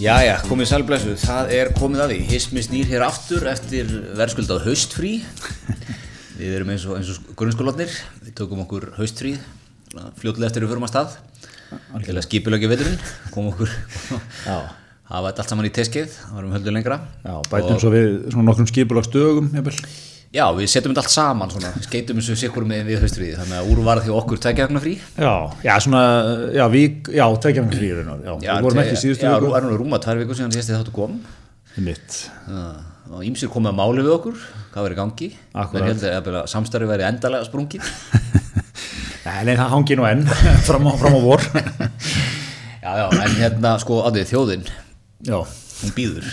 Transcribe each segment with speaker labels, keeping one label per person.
Speaker 1: Jæja, komið sælblæsu, það er komið að því Hismi snýr hér aftur eftir verðskuldað haustfrí Við erum eins og, eins og grunnskólanir Við tökum okkur haustfrí svona fljótlega eftir við förum að stað til að skipilöki veturinn kom okkur
Speaker 2: Já.
Speaker 1: hafa þetta allt saman í teskið það varum höldu lengra
Speaker 2: Já, bætum svo við svona nokkrum skipulags dögum, jafnvel.
Speaker 1: Já, við setjum þetta allt saman svona, skeitum þessu sikkur með við haustfrí þannig að úr var því okkur tækja hagna frí
Speaker 2: Já, já, svona, já, vík, já, tveikjarnar fríður hennar, já, við vorum ekki í síðustu
Speaker 1: já,
Speaker 2: viku.
Speaker 1: Já, erum við rúma tvær viku síðan síðast þáttu kom
Speaker 2: Mitt,
Speaker 1: Já, og ímsir komið að máli við okkur hvað verið í gangi
Speaker 2: Akkúrat.
Speaker 1: Menn héldu jafnvel að samstarfi verið endalega sprungið
Speaker 2: Nei, nei, það hangi nú enn fram á, fram á vor
Speaker 1: já, já, en hérna sko Árni, þjóðin,
Speaker 2: Já,
Speaker 1: hún býður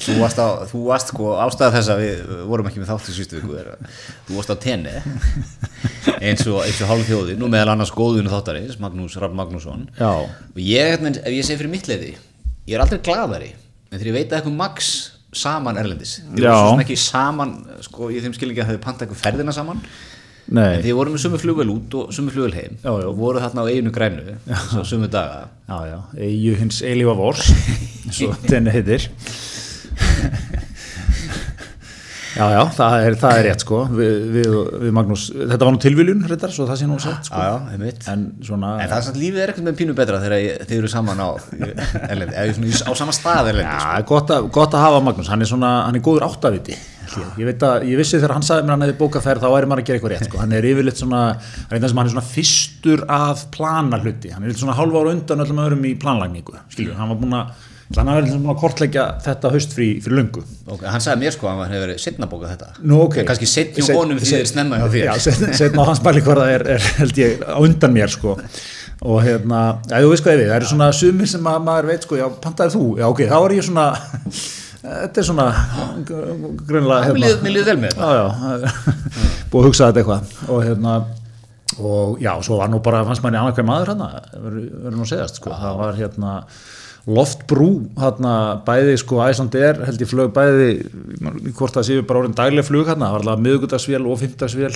Speaker 1: þú varst, á, þú varst sko ástæða þess að við vorum ekki með þátt í sístu viku er, að þú varst á tenni eins og, eins og hálf þjóðin og meðal annars góðun þáttarins, Magnús Raff Magnússon
Speaker 2: já,
Speaker 1: og ég, hérna, ef ég segi fyrir mitt leiði ég er aldrei gladari en þegar ég veit að eitthvað max saman erlendis þið
Speaker 2: Já.
Speaker 1: voru svo sem ekki saman sko, í þeim skilningi að þau panta eitthvað ferðina saman en
Speaker 2: nei
Speaker 1: þið voru með sumu flugvel út og sumu flugvel heim
Speaker 2: Já, já.
Speaker 1: og voru þarna á eiginu grænu svo sumu daga
Speaker 2: Já, já, eigu hins eilífa vors Svo þenni heitir Já, já, það er, það er rétt sko við, við, við Magnús, þetta var nú tilviljun reyndar, svo það sé nú sett sko.
Speaker 1: já, já, einmitt
Speaker 2: En svona,
Speaker 1: En það er samt lífið er ekkert með pínu betra þegar ég- þið eru saman á erlendi, eða svona í- á sama stað erlendi.
Speaker 2: Já, gott, að, gott að hafa Magnús, hann er, svona, hann er góður áttaviti held ég. ég, veit að, ég vissi þegar hann sagði mér að hann hefði bókaferð þá væri maður að gera eitthvað rétt sko. hann er yfirleitt svona, hann er, það sem hann er svona fyrstur að plana hluti hann er yfirleitt svona hálfa ára undan öllum öðrum í planlagningu skilur, hann var búin að hann var búin að kortleggja þetta haustfrí fyrir löngu
Speaker 1: Og hann sagði mér sko að hann hefur verið setna bókað þetta.
Speaker 2: Nú, ok.
Speaker 1: En kannski setni
Speaker 2: Set-
Speaker 1: honum því
Speaker 2: set-
Speaker 1: þeir snemma hjá þér.
Speaker 2: Já, setna á hans bæli hvað það er, er held ég á undan mér sko og hérna, já þú veist hvað ég við það eru svona sumir sem að, maður veit sko já, pantaði þú, já ok, þá er ég svona þetta er svona grunlega
Speaker 1: Mér líður- mér líður vel með þetta.
Speaker 2: já, já, búið að hugsa þetta eitthvað og hérna og já, svo var nú bara, fannst manni annað hver maður hérna, verður nú að segjast sko, það var hérna loftbrú hérna, bæði sko Æslandir held ég flög bæði ég man ekki hvort það séu bara orðin dagleg flug hérna, það var alveg miðugudagsvél og fimmtagsvél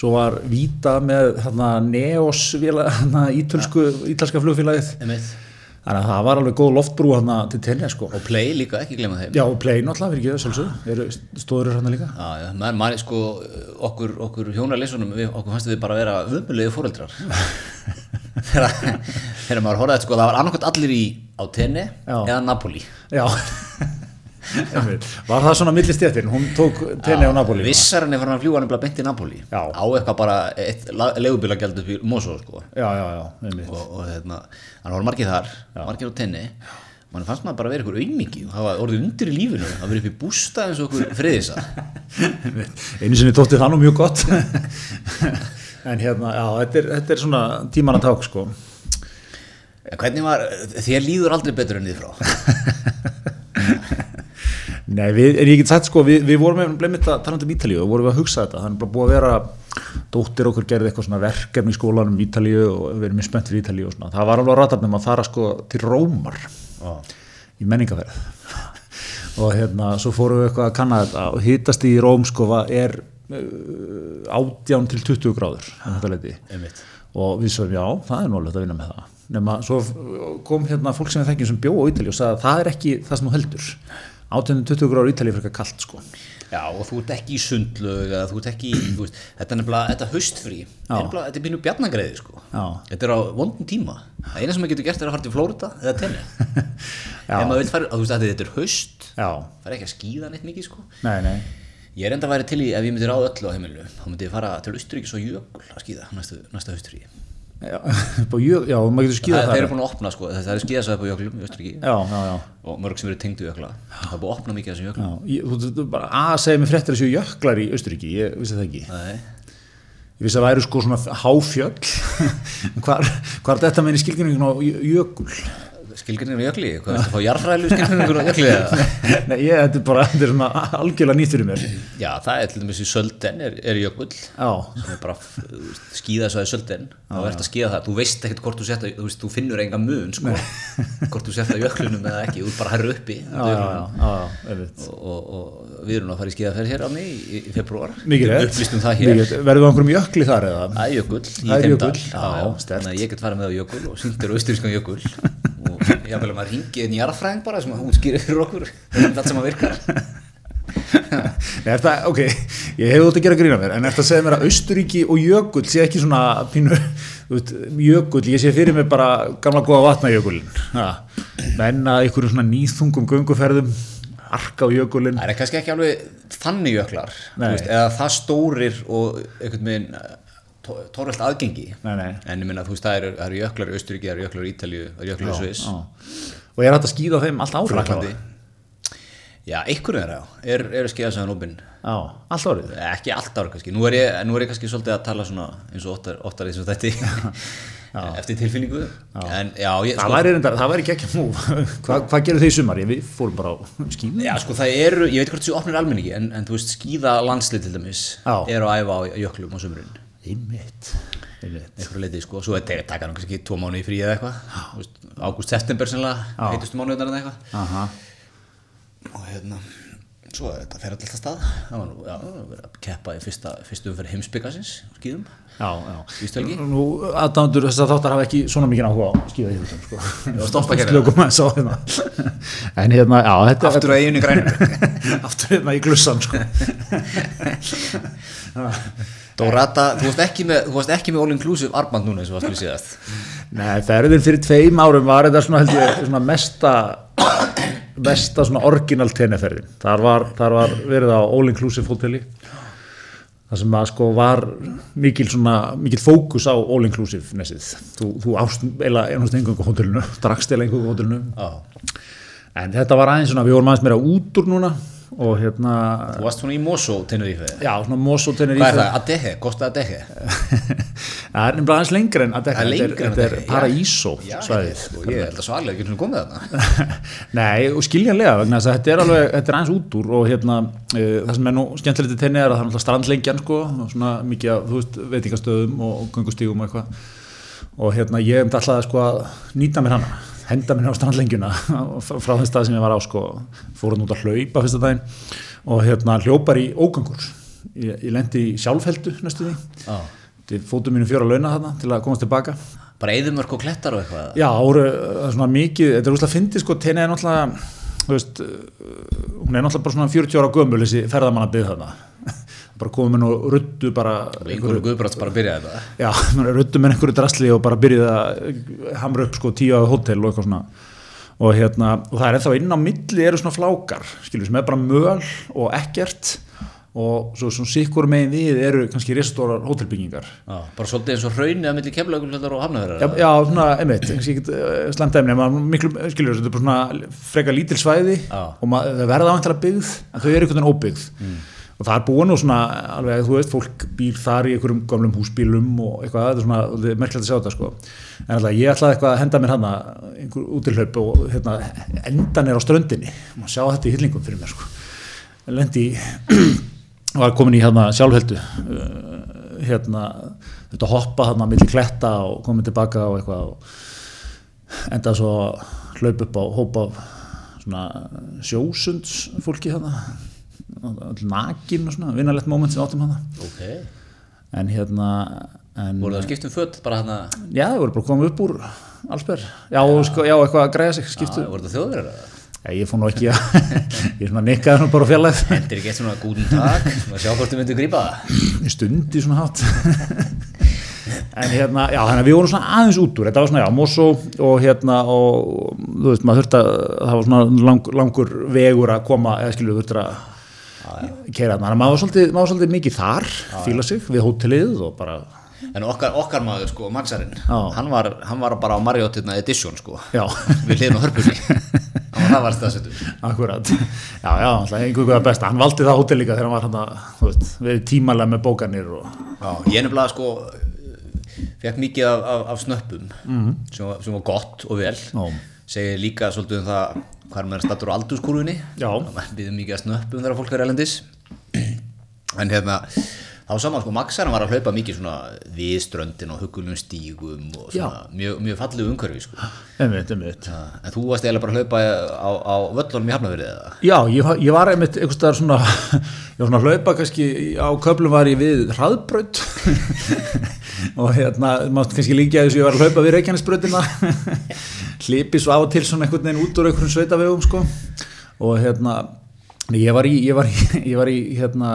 Speaker 2: svo var Víta með hérna Neosvél hérna, ítölsku, ítalska flugfélagið
Speaker 1: Einmitt.
Speaker 2: þannig að það var alveg góð loftbrú hérna til tenni sko,
Speaker 1: Og play líka, ekki glemma þeim.
Speaker 2: já og play náttúrulega fyrir ekki þau sjálfsögðu, eru stóður hérna líka
Speaker 1: Já, já, maður, maður sko, okkur, okkur hjónarleysunum, við, okkur fannst við bara vera vömmulegu fóreldrar. þegar, þegar maður horfði að sko, það var annarkvæmt allir í á tenni
Speaker 2: Já.
Speaker 1: eða Napoli.
Speaker 2: Já Einmitt. Var það svona millistjættin, hún tók tenni á Napoli
Speaker 1: Vissarinn er farin að fljúa nefnilega beint í Napoli.
Speaker 2: Já.
Speaker 1: Á eitthvað bara eitt legubilagjald upp í Mosó sko.
Speaker 2: Já, já, já, einmitt
Speaker 1: og, og hérna, hann var margir þar margir á tenni mann fannst maður bara að vera ykkur auðmiki og hafa orðið undir í lífinu að vera upp í bústa eins og okkur friðisa
Speaker 2: Einmitt. Einu sinni tótti það nú mjög gott En hérna, já, þetta er, þetta er svona tíman að ták sko
Speaker 1: hvernig var, þér líður aldrei betur en þið frá
Speaker 2: Nei, við, en ég get sagt sko, við, við vorum með blemmitt að tala um Ítalíu og vorum við að hugsa þetta Þannig bara búið að vera, dóttir okkur gerði eitthvað svona verkefni í skólanum í Ítalíu og við erum mjög spennt fyrir Ítalíu og svona Það var alveg að rata með að fara sko til Rómar í menningaferð og hérna, svo fórum við eitthvað að kanna þetta og hittast í Róm sko var- er uh, 18 til 20 gráður um þetta leiti
Speaker 1: Einmitt.
Speaker 2: og við sögum já, það er nálega að vinna með það nema svo f- kom hérna fólk sem við þekkjum sem bjó á Ítali og sagði að það er ekki það sem þú heldur 18 til 20 gráður í Ítali er frekar kalt sko
Speaker 1: já og þú ert ekki í sundlög eða þú ert ekki, í- þú veist, þetta er nefnilega þetta haustfrí, er nefnilega, þetta er býnum bjarnagreiði sko.
Speaker 2: Já.
Speaker 1: þetta er á vondum tíma það eina sem maður getur gert er að fara til Flórida eða tenni
Speaker 2: Já.
Speaker 1: ef maður vil fara, að, þú veist að þetta er haust
Speaker 2: já,
Speaker 1: fara ekki að skýða neitt mikið sko.
Speaker 2: nei, nei
Speaker 1: Ég er enda að væri til í, ef ég myndi ráða öllu á heimilu, þá myndi ég fara til Austuríkis og Jökul að skýða næsta, næsta Austuríki.
Speaker 2: já, bara jö- já maður getur skýða
Speaker 1: Það, það
Speaker 2: það
Speaker 1: er búin að opna sko, það er skýðasvæði á Jökulum í Austuríki
Speaker 2: já, já, já
Speaker 1: og mörg sem eru tengdu Jökla. Það er búin að opna mikið af þessum Jöklum.
Speaker 2: Já, ég, þú, þú, þú bara að segja mér fréttir þessu jöklar í Austuríki, ég vissi það ekki.
Speaker 1: Nei.
Speaker 2: Ég vissi að það væri sko svona háfjöll, En hvar, hvar þetta meðin í skilgjörningin á jö- jökul?
Speaker 1: Skilgjörningin á Jökli, hvað er þetta að fá jarðfræðilu skilgjörningin á Jökli eða?
Speaker 2: Nei, ég, þetta er bara, þetta er svona algjörlega nýtt fyrir mér.
Speaker 1: Já, það er til dæmis í Sölden er, er Jökull sem
Speaker 2: Já,
Speaker 1: er bara skýðasvæði Sölden þá verður að skýða það, þú veist ekkert hvort þú setja þú, veist, þú finnur enga mun sko, hvort þú setja jöklunum eða ekki, þú ert bara herru uppi
Speaker 2: já, já, já, já, já, einmitt.
Speaker 1: og, og, og við erum að fara í skíðaferð hér áni í, í februar
Speaker 2: Mikið rétt.
Speaker 1: upplýstum það hér
Speaker 2: Mikið rétt. Verðum við á einhverjum jökli þar eða?
Speaker 1: Það er jökull í
Speaker 2: Það er
Speaker 1: þeim dal
Speaker 2: jökull, já, sterkt.
Speaker 1: Þannig að ég get farið með á jökull og sýndir á austurískan jökull og Jafnvel að maður ringi einn jarðfræðing bara sem að hún skýrir fyrir okkur þetta sem að virkar
Speaker 2: Nei, er það, ok, ég hefði út að gera grína mér en eftir að segja mér að Austuríki og Jökull sé ekki svona pínu þú veist, Jökull, ég sé fyrir mér bara gamla góða vatnajökullin ha. menn að ykkur svona nýþungum gönguferðum arka á jökullin
Speaker 1: Það er kannski ekki alveg þannig jöklar þú
Speaker 2: Nei.
Speaker 1: veist, eða það stórir og einhvern veginn tórveld aðgengi
Speaker 2: Nei, nei.
Speaker 1: en ég minna þú veist það eru, það eru jöklar í Östuríki, það eru jöklar í Ítalíu það eru jöklar í Sviss
Speaker 2: Já. og ég er hægt að skýða þeim allt árið
Speaker 1: Fraklandi Já, einhverju er það, er, er skeiðasæðan opinn
Speaker 2: Já, allt árið
Speaker 1: ekki allt ára kannski, nú er, ég, nú er ég kannski svolítið að tala svona eins og óttar, óttar eins og þetta eftir tilfinningu en já, ég, sko,
Speaker 2: Það væri, reyndar, það væri ekki ekki múf Hva, Hvað gerir þau í sumar? Ég, við fórum bara á skýðin
Speaker 1: Já, sko, það eru, ég veit hvort þessu opnir almenningi, en, en þú veist, skíða landslið til dæmis
Speaker 2: Já.
Speaker 1: er að æfa á jöklum á sömurinn,
Speaker 2: Einmitt, einmitt.
Speaker 1: einhverju leiti, sko, svo er þetta taka hann kannski tvo mánu í frí eða eitthvað, ágúst, september sennilega,
Speaker 2: Já.
Speaker 1: heitustu mánuðnar eða eitthvað,
Speaker 2: Aha.
Speaker 1: og hérna, svo er þetta fer alltaf stað, það var nú, já, það var verið að keppa í fyrsta, fyrstu umferð heimsbyggasins, skíðum,
Speaker 2: Já, já
Speaker 1: Ístelgi,
Speaker 2: Nú, aðdándur þess að þáttar hafa ekki svona mikið áhuga á skýða í hlutum sko.
Speaker 1: Já, stoppa að gera
Speaker 2: Slökum að sá hérna En hérna, já, þetta
Speaker 1: aftur að eiginu grænum,
Speaker 2: aftur hérna í glussan sko.
Speaker 1: Dorata, þú varst ekki með, þú varst ekki með all-inclusive armband núna eins og varst við síðast,
Speaker 2: Nei, ferðin fyrir tveim árum var þetta svona, held ég, svona mesta mesta svona orginal tenniferðin þar var, þar var verið á All Inclusive Hoteli þar sem að sko var mikil svona mikil fókus á All Inclusive nesið þú, þú ást eila einhvern engungu hótelinu drakst eila einhverjum hótelinu
Speaker 1: já,
Speaker 2: en þetta var aðeins svona, við vorum aðeins meira út úr núna og hérna
Speaker 1: þú varst svona í Mosó, Tenerife,
Speaker 2: já, svona Mosó tenir
Speaker 1: hvað er það, Adehe, Costa Adehe,
Speaker 2: það er nefnilega aðeins lengra en að dekka
Speaker 1: Það er
Speaker 2: þetta
Speaker 1: lengra en
Speaker 2: er,
Speaker 1: að
Speaker 2: þetta er
Speaker 1: dekka, já.
Speaker 2: Paraíso
Speaker 1: Já,
Speaker 2: svæðið
Speaker 1: sko, ég held að svalið ekki svona komið þarna
Speaker 2: Nei, og skiljanlega vegna þess að þetta er alveg, þetta er aðeins út úr og hérna, e, það sem er nú skemmtilegt í tenni er að það er alltaf strandlengjan sko og svona mikið af, þú veist, veitingastöðum og, og göngustígum og eitthvað og hérna, ég hefndi alltaf sko að nýta mér hana henda mér á strandlengjuna frá þess stað sem ég var á sko fórum út að hlaupa fyrsta daginn og hérna hljópar í ógangur ég, ég lendi í sjálfheldu næstu því
Speaker 1: Já.
Speaker 2: til fótum mínu fjóra launa þarna til að komast tilbaka
Speaker 1: bara eðumörk og klettar og eitthvað
Speaker 2: Já, það voru uh, svona mikið, þetta er úrslega fyndið sko, Tene er náttúrulega, þú veist, uh, hún er náttúrulega bara svona 40 ára gömul þessi ferðamanna byggð þarna. bara komin og ruttu bara,
Speaker 1: og einhverju guðbrátt bara byrjaði þetta
Speaker 2: já, ruttu með einhverju drasli og bara byrjuð að uh, hamra upp sko tíu ára hótel og eitthvað svona. Og hérna, og það er ennþá inn á milli eru svona flákar, skilur, sem er bara möl og ekkert og svo svona sikkur megin við eru kannski restórar hótelbyggingar.
Speaker 1: já, bara svolítið eins og hraunið að milli kemlaugulöldar og
Speaker 2: Já,
Speaker 1: hafnaverðar
Speaker 2: já, svona, einmitt, kannski ekkert uh, slæmt efni, en maður miklu, skiljur, þetta er bara svona freka lítil svæði
Speaker 1: Já.
Speaker 2: og maður, það verða ávæntalega byggð, en þau eru einhvern veginn óbyggð. Og það er búin og svona, alveg, þú veist, fólk býr þar í einhverjum gamlum húsbílum og eitthvað, þetta er svona, þetta er merkilegt að sjá þetta, sko. En alltaf, ég ætlaði eitthvað að henda mér hana, einhver útilhaup og hérna, endan er á ströndinni, maður sjá þetta í hyllingum fyrir mér, sko. Lendi í, var komin í hérna sjálfheldu uh, hérna þetta hoppa hérna millir kletta og komin tilbaka og eitthvað og enda svo að hlaupa upp á hópa af svona sjósunds fólki hérna all nakin og svona vinalegt moment sem við áttum hérna
Speaker 1: ok,
Speaker 2: en hérna en,
Speaker 1: voru það að skipta um fött bara hann að,
Speaker 2: já það voru bara komið upp úr allsber já, og sko, já eitthvað að græða sig skiptu
Speaker 1: voru það þjóðverðar
Speaker 2: já, ég fór nú ekki að ég svona nikkaði nú bara á fjarlæð
Speaker 1: hendir ekki eitt svona gúdum tak og sjá hvort þið myndu grípa það
Speaker 2: Ég stundi svona hátt en hérna, já, þannig að við vorum svona aðeins út úr, þetta var svona, já, Mosó og hérna, og þú veist, maður þurfti að það var svona lang, langur vegur að koma, eða skilu, þurfti að keira þarna, þannig að maður var svolítið, maður var svolítið mikið þar, fíla sig við hótelið og bara,
Speaker 1: en okkar, okkar maður sko, Maxarinn
Speaker 2: Já.
Speaker 1: hann var, hann var bara á Marriottina Edition sko
Speaker 2: já
Speaker 1: við hliðin á hörpunni hann var það var staðsettur
Speaker 2: akkurat, já, já, alltaf einhverju hvað besta, hann valdi það hótel líka þegar hann var hann að, þú veist, verið tímalega með bókanir og,
Speaker 1: Já, ég nefnilega sko fekk mikið af, af, af snöppum sem, var, sem var gott og vel
Speaker 2: Mhm. Já.
Speaker 1: segi líka svolítið um það hvað er maður stattur á aldurskúrunni
Speaker 2: Já.
Speaker 1: um við mikið af snöppum þegar fólk er elendis en hérna þá saman sko Maxaran var að hlaupa mikið svona við ströndin og hugulum stígum og svona mjög, mjög fallegu umhverfi sko.
Speaker 2: einmitt, einmitt.
Speaker 1: Ha, en þú varst eiginlega bara að hlaupa á, á völlunum í Hafnafyrði eða?
Speaker 2: Já, ég, var- ég var einmitt einhvers staðar svona, ég var svona að hlaupa kannski, á köflum var ég við hraðbraut og hérna, mátt kannski líka þess að ég var að hlaupa við reikjarnisbrautina hlipi svo af og til svona einhvern veginn út úr einhverjum sveitavegum sko og hérna, nei, ég var í, ég var í, ég var í hérna,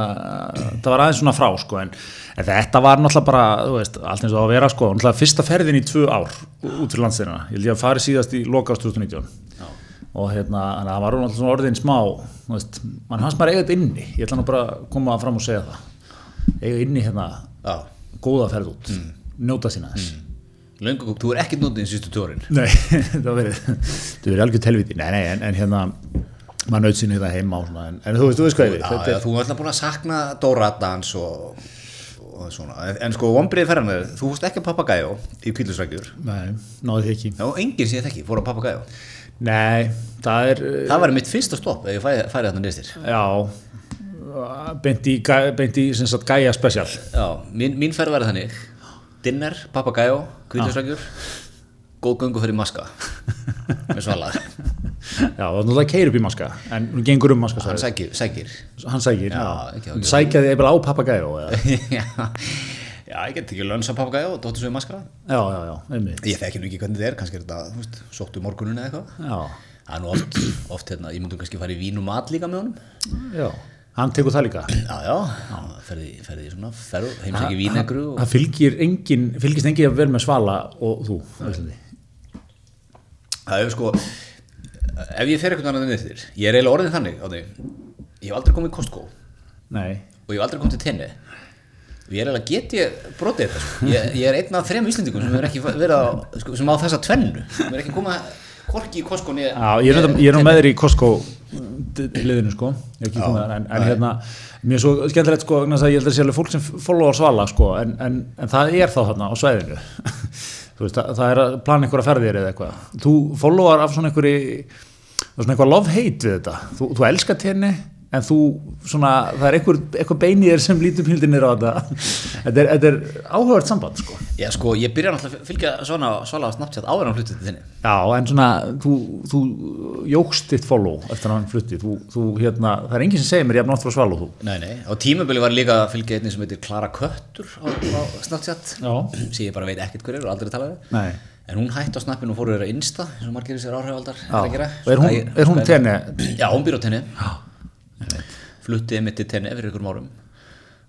Speaker 2: það var aðeins svona frá sko en, en þetta var náttúrulega bara, þú veist, allt eins og á að vera sko, náttúrulega fyrsta ferðin í tvö ár út fyrir landsina, ég held ég að fari síðast í loka árs 2019
Speaker 1: Já.
Speaker 2: og hérna, þannig að það var alltaf svona orðin smá þú veist, mann hans maður eiga þetta inni ég ætla nú bara að koma fram og segja það eiga inni hérna
Speaker 1: Já,
Speaker 2: góða ferð út,
Speaker 1: Mm.
Speaker 2: njóta sína þess
Speaker 1: löngu, þú er ekkert nótið í sístu tórin
Speaker 2: nei, það verið það verið algjör telviti, nei, nei, en, en hérna maður naut sína þetta heima á svona en, en þú veist, þú veist hvað ég við,
Speaker 1: Já,
Speaker 2: þetta
Speaker 1: já, þú er alltaf búin að sakna Dóradans og, og svona, en, en sko vonbreið ferðan þú fórst ekki að Papagæjó í Pílusrækjur
Speaker 2: er nei, náðu því ekki
Speaker 1: Já, enginn sem ég þekki fór á Papagæjó
Speaker 2: nei, það er eh,
Speaker 1: Það var mitt fyrsta stopp ef ég færi, færi þarna neðstir
Speaker 2: já beint í, gæ- beint í sem sagt gæja spesial
Speaker 1: Já, mín, mín ferð var þannig Dinner, Papagæjó, Pílusrækjur Góð göngu fyrir maska með svalað
Speaker 2: já, það er náttúrulega keir upp í maska en hún gengur um maska
Speaker 1: Hann sækir, sækir.
Speaker 2: hann sækir já,
Speaker 1: ekki,
Speaker 2: já. sækjaði ég bara á papagæjó eða?
Speaker 1: já, já, ég get ekki lönns á Papagæjó og dóttu svo í maska
Speaker 2: já, já, já, einmitt
Speaker 1: Ég þekki nú ekki hvernig þetta er, kannski er þetta, þú veist, sóttu morgunin eða eitthvað
Speaker 2: já,
Speaker 1: Það er nú oft, oft hérna, ég myndum kannski fara í vín og mat líka með honum.
Speaker 2: já, hann tekur það líka
Speaker 1: Já, já, já. ferði, ferði í svona, ferð, heimsæki vínegru og...
Speaker 2: það fylgir engin, fylgist engin jafn vel með svala og þú á Íslandi.
Speaker 1: Það er sko, ef ég fer eitthvað annað niður þér, ég er eiginlega orðin þannig á því, ég hef aldrei komið í Costco og
Speaker 2: nei,
Speaker 1: ég hef aldrei komið til tenni. Og ég er eiginlega, get ég brotið þetta, sko. Ég, ég er einn af þrem Íslendingum sem er ekki verið á, sko, sem á þessa tvennu, sem er ekki komað korki í Costco niður.
Speaker 2: já, ég er, reyndar- ég er nú með þér í Costco d- liðinu sko ég er ekki komið þar en, en hérna mér er svo skemmtilegt sko vegna þess að ég held að sé alveg fólk sem followar svala sko en, en, en það er þá þarna á svæðinu þú veist, það, það er að plana einhverja ferðir eða eitthvað þú followar af svona einhverju það er svona eitthvað love-hate við þetta þú, þú elskar tenni en þú svona, það er einhver, einhver beinir sem lítur pildinir á þetta þetta er, þetta er áhugavert samband sko
Speaker 1: Já, sko, ég byrja náttúrulega að fylgja svona svala á Snapchat áður en hlutið til þinni.
Speaker 2: Já, en svona, þú, þú jógst þitt follow eftir að hann flutti þú, þú, hérna, það er enginn sem segir mér jafn átt frá sval og þú
Speaker 1: Nei, nei, á tímabili var líka að fylgja einni sem heitir Klara Köttur á, á Snapchat
Speaker 2: Já.
Speaker 1: sem ég bara veit ekkert hver er og aldrei talaði við.
Speaker 2: Nei.
Speaker 1: en hún hætti á snappinu og fór að vera insta eins og margir þessir áhrifaldar
Speaker 2: Já, og er hún, er hún tenni
Speaker 1: Já, hún býr á tenni fluttið mitt til tenni fyrir ykkur árum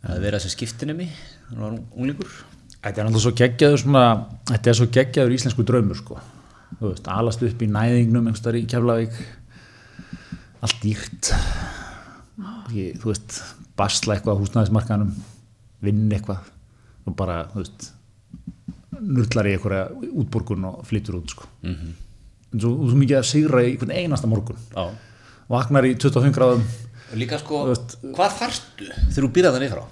Speaker 1: það er verið þessi skiptinemi hún var unglingur
Speaker 2: Þetta er alltaf svo geggjaður svona, þetta er svo geggjaður íslensku draumur sko Þú veist, alast upp í næðingnum einhverstaðar í Keflavík Allt dýrt Ég, Þú veist, basla eitthvað á húsnæðismarkanum Vinn eitthvað Og bara, þú veist Nurlar í einhverja útborgun og flyttur út sko En svo, svo mikið að sigra í einhvern einasta morgun
Speaker 1: Já.
Speaker 2: Vaknar í 25 gráðum
Speaker 1: og líka sko,
Speaker 2: veist-
Speaker 1: hvað þarftu þegar þú býrða þannig frá?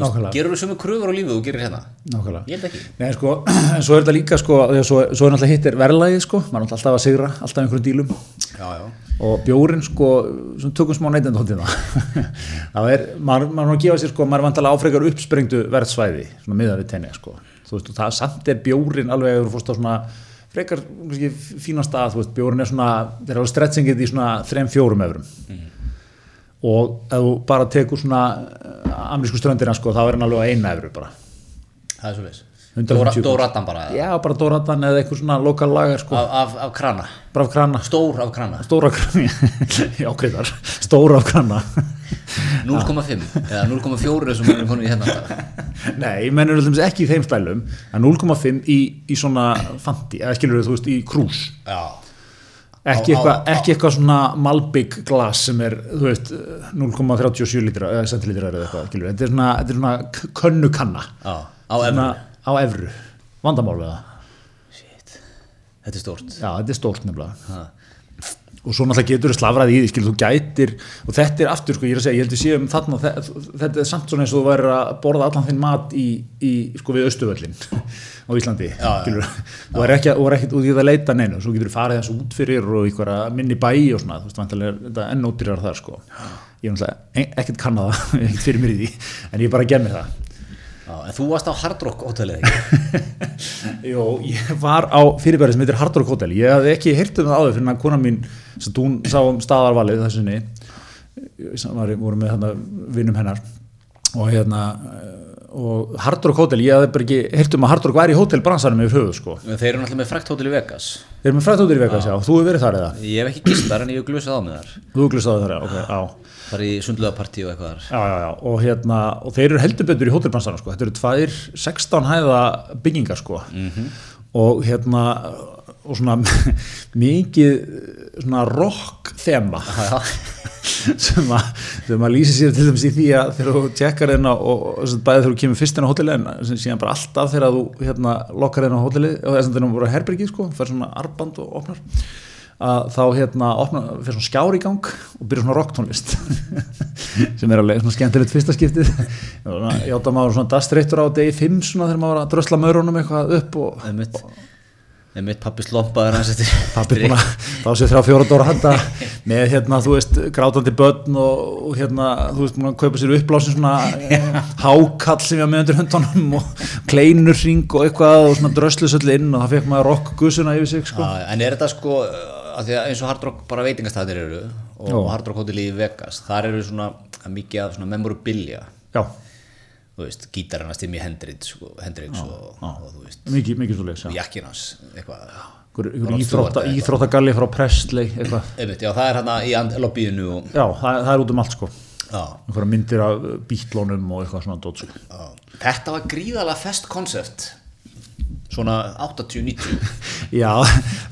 Speaker 2: Nákvæmlega.
Speaker 1: Gerur þú sömu kröfur á lífið og þú gerir hérna?
Speaker 2: Nákvæmlega
Speaker 1: Ég held ekki
Speaker 2: Nei, sko, en svo er þetta líka, sko, þegar svo, svo er náttúrulega hittir verðlagið, sko, maður er náttúrulega alltaf að sigra, alltaf í einhverjum dílum
Speaker 1: Já, já
Speaker 2: og bjórin, sko, svona tökum smá neytendóttina. það er, maður, maður er að gefa sér, sko, maður er vantalega áfrekar uppsprengdu verðsvæði, svona miðað við tenni, sko. Þú veist, og það samt er bjórin alveg að þú fórst á svona frekar, kannski, fína stað, þú veist, bjórin er svona, þeir eru alveg stretchingið í svona 3-4 eurum og ef þú bara tekur svona eh, amerísku ströndina, sko, þá er hann alveg að eina evru bara.
Speaker 1: Það er svo leis
Speaker 2: 150.
Speaker 1: Dórattan bara eða?
Speaker 2: Já, bara Dóratan eða eitthvað svona lokal lagar sko,
Speaker 1: af, af, af krana
Speaker 2: braf krana
Speaker 1: Stór af krana
Speaker 2: stóra krana, já greiðar stóra krana
Speaker 1: 0,5 eða 0,4 sem við erum konum í hérna
Speaker 2: Nei, ég mennur alltaf ekki í þeim stælum en 0,5 í, í svona fanti, eða skilur þú veist, í krús
Speaker 1: Já, Á- á-
Speaker 2: ekki eitthvað ekki eitthvað svona malbygg glas sem er, þú veist, 0,37 lítra, eða centilítra eða eitthvað, skilur þetta er svona, þetta er svona k- könnu kanna
Speaker 1: já, á efru
Speaker 2: Svona á evru, vandamál við það
Speaker 1: Þetta er stórt
Speaker 2: Já, þetta er stórt nefnilega og svo náttúrulega getur þú slafrað í því skil, þú gætir, og þetta er aftur sko, ég er að segja, ég heldur séum þarna þe- þetta er samt svona eins og þú væri að borða allan þinn mat í, í sko við Östuvöllin á Íslandi
Speaker 1: já.
Speaker 2: skilur, og er ekki, að- og er ekkert út í það að leita neinu, svo getur þú farið þessu út fyrir og í einhverja minni bæi og svona þú veist, vantarlega er þetta enn ódýrar þar sko ég er náttúrulega e- ekkert kannað það, ekkert fyrir mér í því en ég bara gemmi það
Speaker 1: Já, en þú varst á Hard Rock hótelið ekki?
Speaker 2: Jó, ég var á fyrirbæri sem heitir Hard Rock Hotel ég hafði ekki heyrt um það áður fyrir að kona mín sem hún sá um staðarvalið þessu sinni sem var, voru með þarna vinnum hennar og hérna eh, og Hard Rock Hotel, ég hafði bara ekki heyrt um að Hard Rock væri í hótelbransanum yfir höfuð sko
Speaker 1: Þeir eru náttúrulega með frækt hótel í Vegas.
Speaker 2: Þeir eru með frætt í Vegas, já, þú hefur verið þar eða
Speaker 1: Ég hef ekki gist þar en ég hef glusað á mig þar.
Speaker 2: Þú glustaði þar, já, ok, já
Speaker 1: Þar í sundluðapartí og eitthvað þar.
Speaker 2: Já, já, já, og hérna, og þeir eru heldur betur í hótelbransanum, sko, þetta eru tvær 16 hæða byggingar, sko og hérna og svona mikið svona rock þema sem að, sem að lýsa sér til dæmis í því að þegar þú tjekkar þeirna og, og sem sagt, bæði þegar þú kemur fyrst inn á hótelið en sem síðan bara alltaf þegar þú hérna lokkar inn á hótelið og þess að þeirna voru að herbergi sko, fer svona arband og opnar að þá hérna opna, fer svona skjár í gang og byrja svona rocktónlist sem er alveg svona skemmtilegt fyrsta skiptið játa maður svona dastreittur á degi 5 svona þegar maður var að drösla maurunum eitthvað upp og
Speaker 1: Það er mitt, það er mitt pappi slompaður hans eftir.
Speaker 2: pappi búin að fá sér þrjá fjóra dóra handa með hérna, þú veist, grátandi börn og, og hérna, þú veist, búin að kaupa sér uppblásin svona eh, hákall sem ég var með undir höndunum og kleinur hring og eitthvað og svona dröslis öll inn og það fekk maður rockgusuna yfir sig, sko.
Speaker 1: Já, en er þetta sko, að því að eins og Hard Rock bara veitingastæðir eru og
Speaker 2: Jó.
Speaker 1: Hard Rock hótel í Vegas, þar eru svona mikið af svona memorabilia,
Speaker 2: Já,
Speaker 1: þú veist, gítarinn hans Timmy Hendrix, sko, Hendrix og, og þú veist,
Speaker 2: mikið, mikið svo leiks, já.
Speaker 1: jakkin hans, eitthvað. Rod
Speaker 2: Ykkur, ykkur
Speaker 1: Stewart
Speaker 2: íþrótta,
Speaker 1: eða eitthvað.
Speaker 2: íþróttagalli frá Prestley, eitthvað.
Speaker 1: Einmitt, já, það er hann í and- lobbyinu og,
Speaker 2: Já, það, það er út um allt, sko.
Speaker 1: já,
Speaker 2: Einhverja myndir af eh, bítlónum og eitthvað svona dót, sko.
Speaker 1: Já. Þetta var gríðalega fest konsept Svona 80-90
Speaker 2: Já,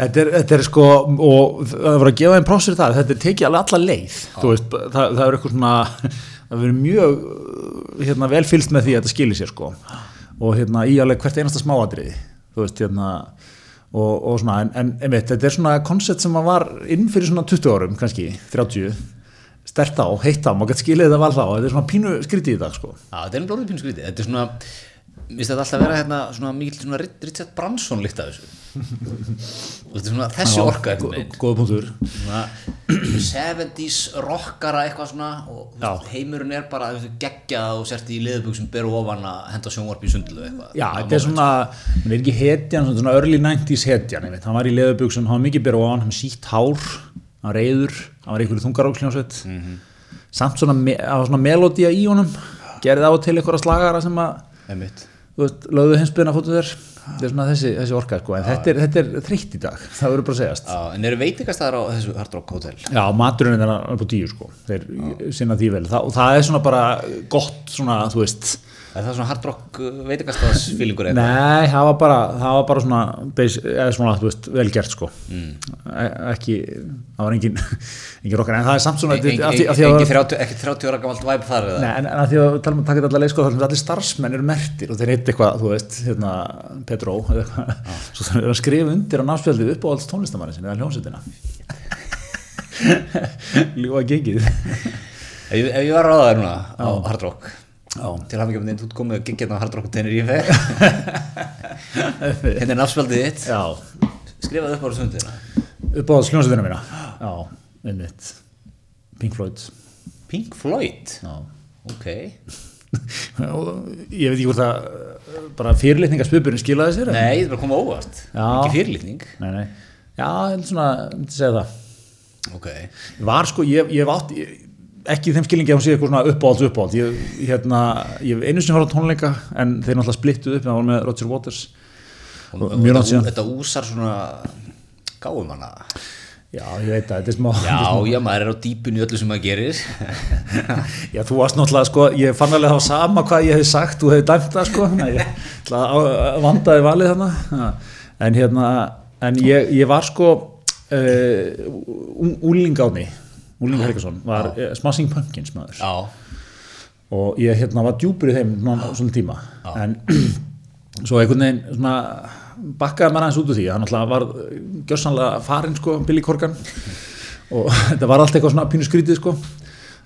Speaker 2: þetta er, þetta er sko og það var að gefa einn prósir það þetta er tekið alveg alla leið þú veist, það, það er eitthvað svona það verður mjög uh, hérna, vel fylgst með því að þetta skilir sér sko og hérna í alveg hvert einasta smáadriði þú veist, hérna og, og svona, en, en einmitt, þetta er svona koncept sem að var inn fyrir svona 20 árum kannski, 30 stert á, heitt á, maður gætt skilið þetta val þá þetta er svona pínu skrítið í dag sko
Speaker 1: Já, þetta er enn blóðið pínu skrítið Þetta er svona, minnst þetta alltaf vera hérna svona mikil svona Rit- Richard Branson líkt af þessu Þetta er svona þessi orka
Speaker 2: sko-
Speaker 1: einhvern veginn.
Speaker 2: góð punktur
Speaker 1: Svona 70s rockara eitthvað svona og þú veist, heimurinn er bara þú veist, geggjað og sért í liðbug sem beru ofan að henda sjónvarpi í sundlu eitthvað
Speaker 2: Já, þetta er svona, hann er ekki hetjan, svona- svona early 90s hetjan, ég veit, hann var í leðubuxum, hann var mikið byrja ofan, hann var sítt hár, hann var reyður, hann var í einhverju þungaróksljónsveit, samt svona, me- það var svona melodía í honum, gerði á og til einhverja slagara sem að,
Speaker 1: Einmitt.
Speaker 2: þú veist, lögðu hinsbyðina fóttu þér, þetta er svona þessi, þessi orka, sko, en þetta er, þetta er þreytt í dag, það verður bara að segjast.
Speaker 1: Já, En eru veitingastæðar á þessu Hard Rock Hotel?
Speaker 2: Já, maturinn er upp á tíu, sko, þeir sinna því vel, Þa, og það er svona bara gott, svona, þú veist,
Speaker 1: Er það svona Hard Rock veitingastæðars fílingur eitthvað?
Speaker 2: Nei, það var bara, það var bara svona, beis, eða svona þú veist, vel gert sko e ekki, það var engin engin rokkar, en það er samt svona
Speaker 1: Engin,
Speaker 2: af
Speaker 1: engin,
Speaker 2: því- af því að-
Speaker 1: engin 30, ekki 30 ára gamalt væp þar eða?
Speaker 2: Nei, en, en að því að við talum að taka þetta allar leið sko, þá erum við allir starfsmenn eru mertir og þeir heiti eitthvað, þú veist, hérna Petró, eða eitthvað, svo þannig er að skrifa undir á námspjaldið upp á alls tónlistamanni sinni eða hljómsveitina Ljúa gengið
Speaker 1: Ef, ég- ef ég var ráðaður núna á Hard Rock
Speaker 2: Já.
Speaker 1: til hann ekki með neinn, þú ert komið að gigja hérna á Hard Rock tenir ég fer hérna er nafnspjaldið þitt
Speaker 2: Já,
Speaker 1: skrifaðu upp ára sundina
Speaker 2: upp á alls hljómsveitina mína Já, einmitt Pink Floyd
Speaker 1: Pink Floyd
Speaker 2: Já
Speaker 1: ok
Speaker 2: Og ég veit ekki hvort það uh, bara fyrirlitningarspöpurinn skilaði sér en-
Speaker 1: nei, þetta er bara að koma á óvart
Speaker 2: Já.
Speaker 1: ekki fyrirlitning
Speaker 2: nei, nei. já, ég held svona ég myndi segja það,
Speaker 1: ok
Speaker 2: var sko, ég, ég hef átt ég, ekki í þeim skilningi að hún sé eitthvað svona uppáhalds uppáhald, ég, hérna, ég hef einu sinni horfði á tónleika en þeir náttúrulega splittuð upp það var með Roger Waters
Speaker 1: Og-
Speaker 2: Og
Speaker 1: og
Speaker 2: mjög langt
Speaker 1: þetta-
Speaker 2: síðan.
Speaker 1: þetta úsar svona gáum hana
Speaker 2: já, ég veit það, þetta er smá
Speaker 1: já, já, maður er á dýpun í öllu sem maður gerir
Speaker 2: Já, þú varst náttúrulega, sko, ég fann alveg þá sama hvað ég hefði sagt, þú hefði dæmt það, sko, þannig að ég ætla að á- að vandaði valið þarna, Ha. en hérna, en ég, ég var sko, uh, úling áni, úling Helgason, var uh, Smashing Pumpkins maður
Speaker 1: já,
Speaker 2: og ég hérna var djúpur í þeim svona, svona tíma, en svo einhvern veginn svona bakkaði maður aðeins út úr því, hann alltaf var gjössanlega farinn sko, Billy Corgan og þetta var allt eitthvað svona pínu skrítið sko,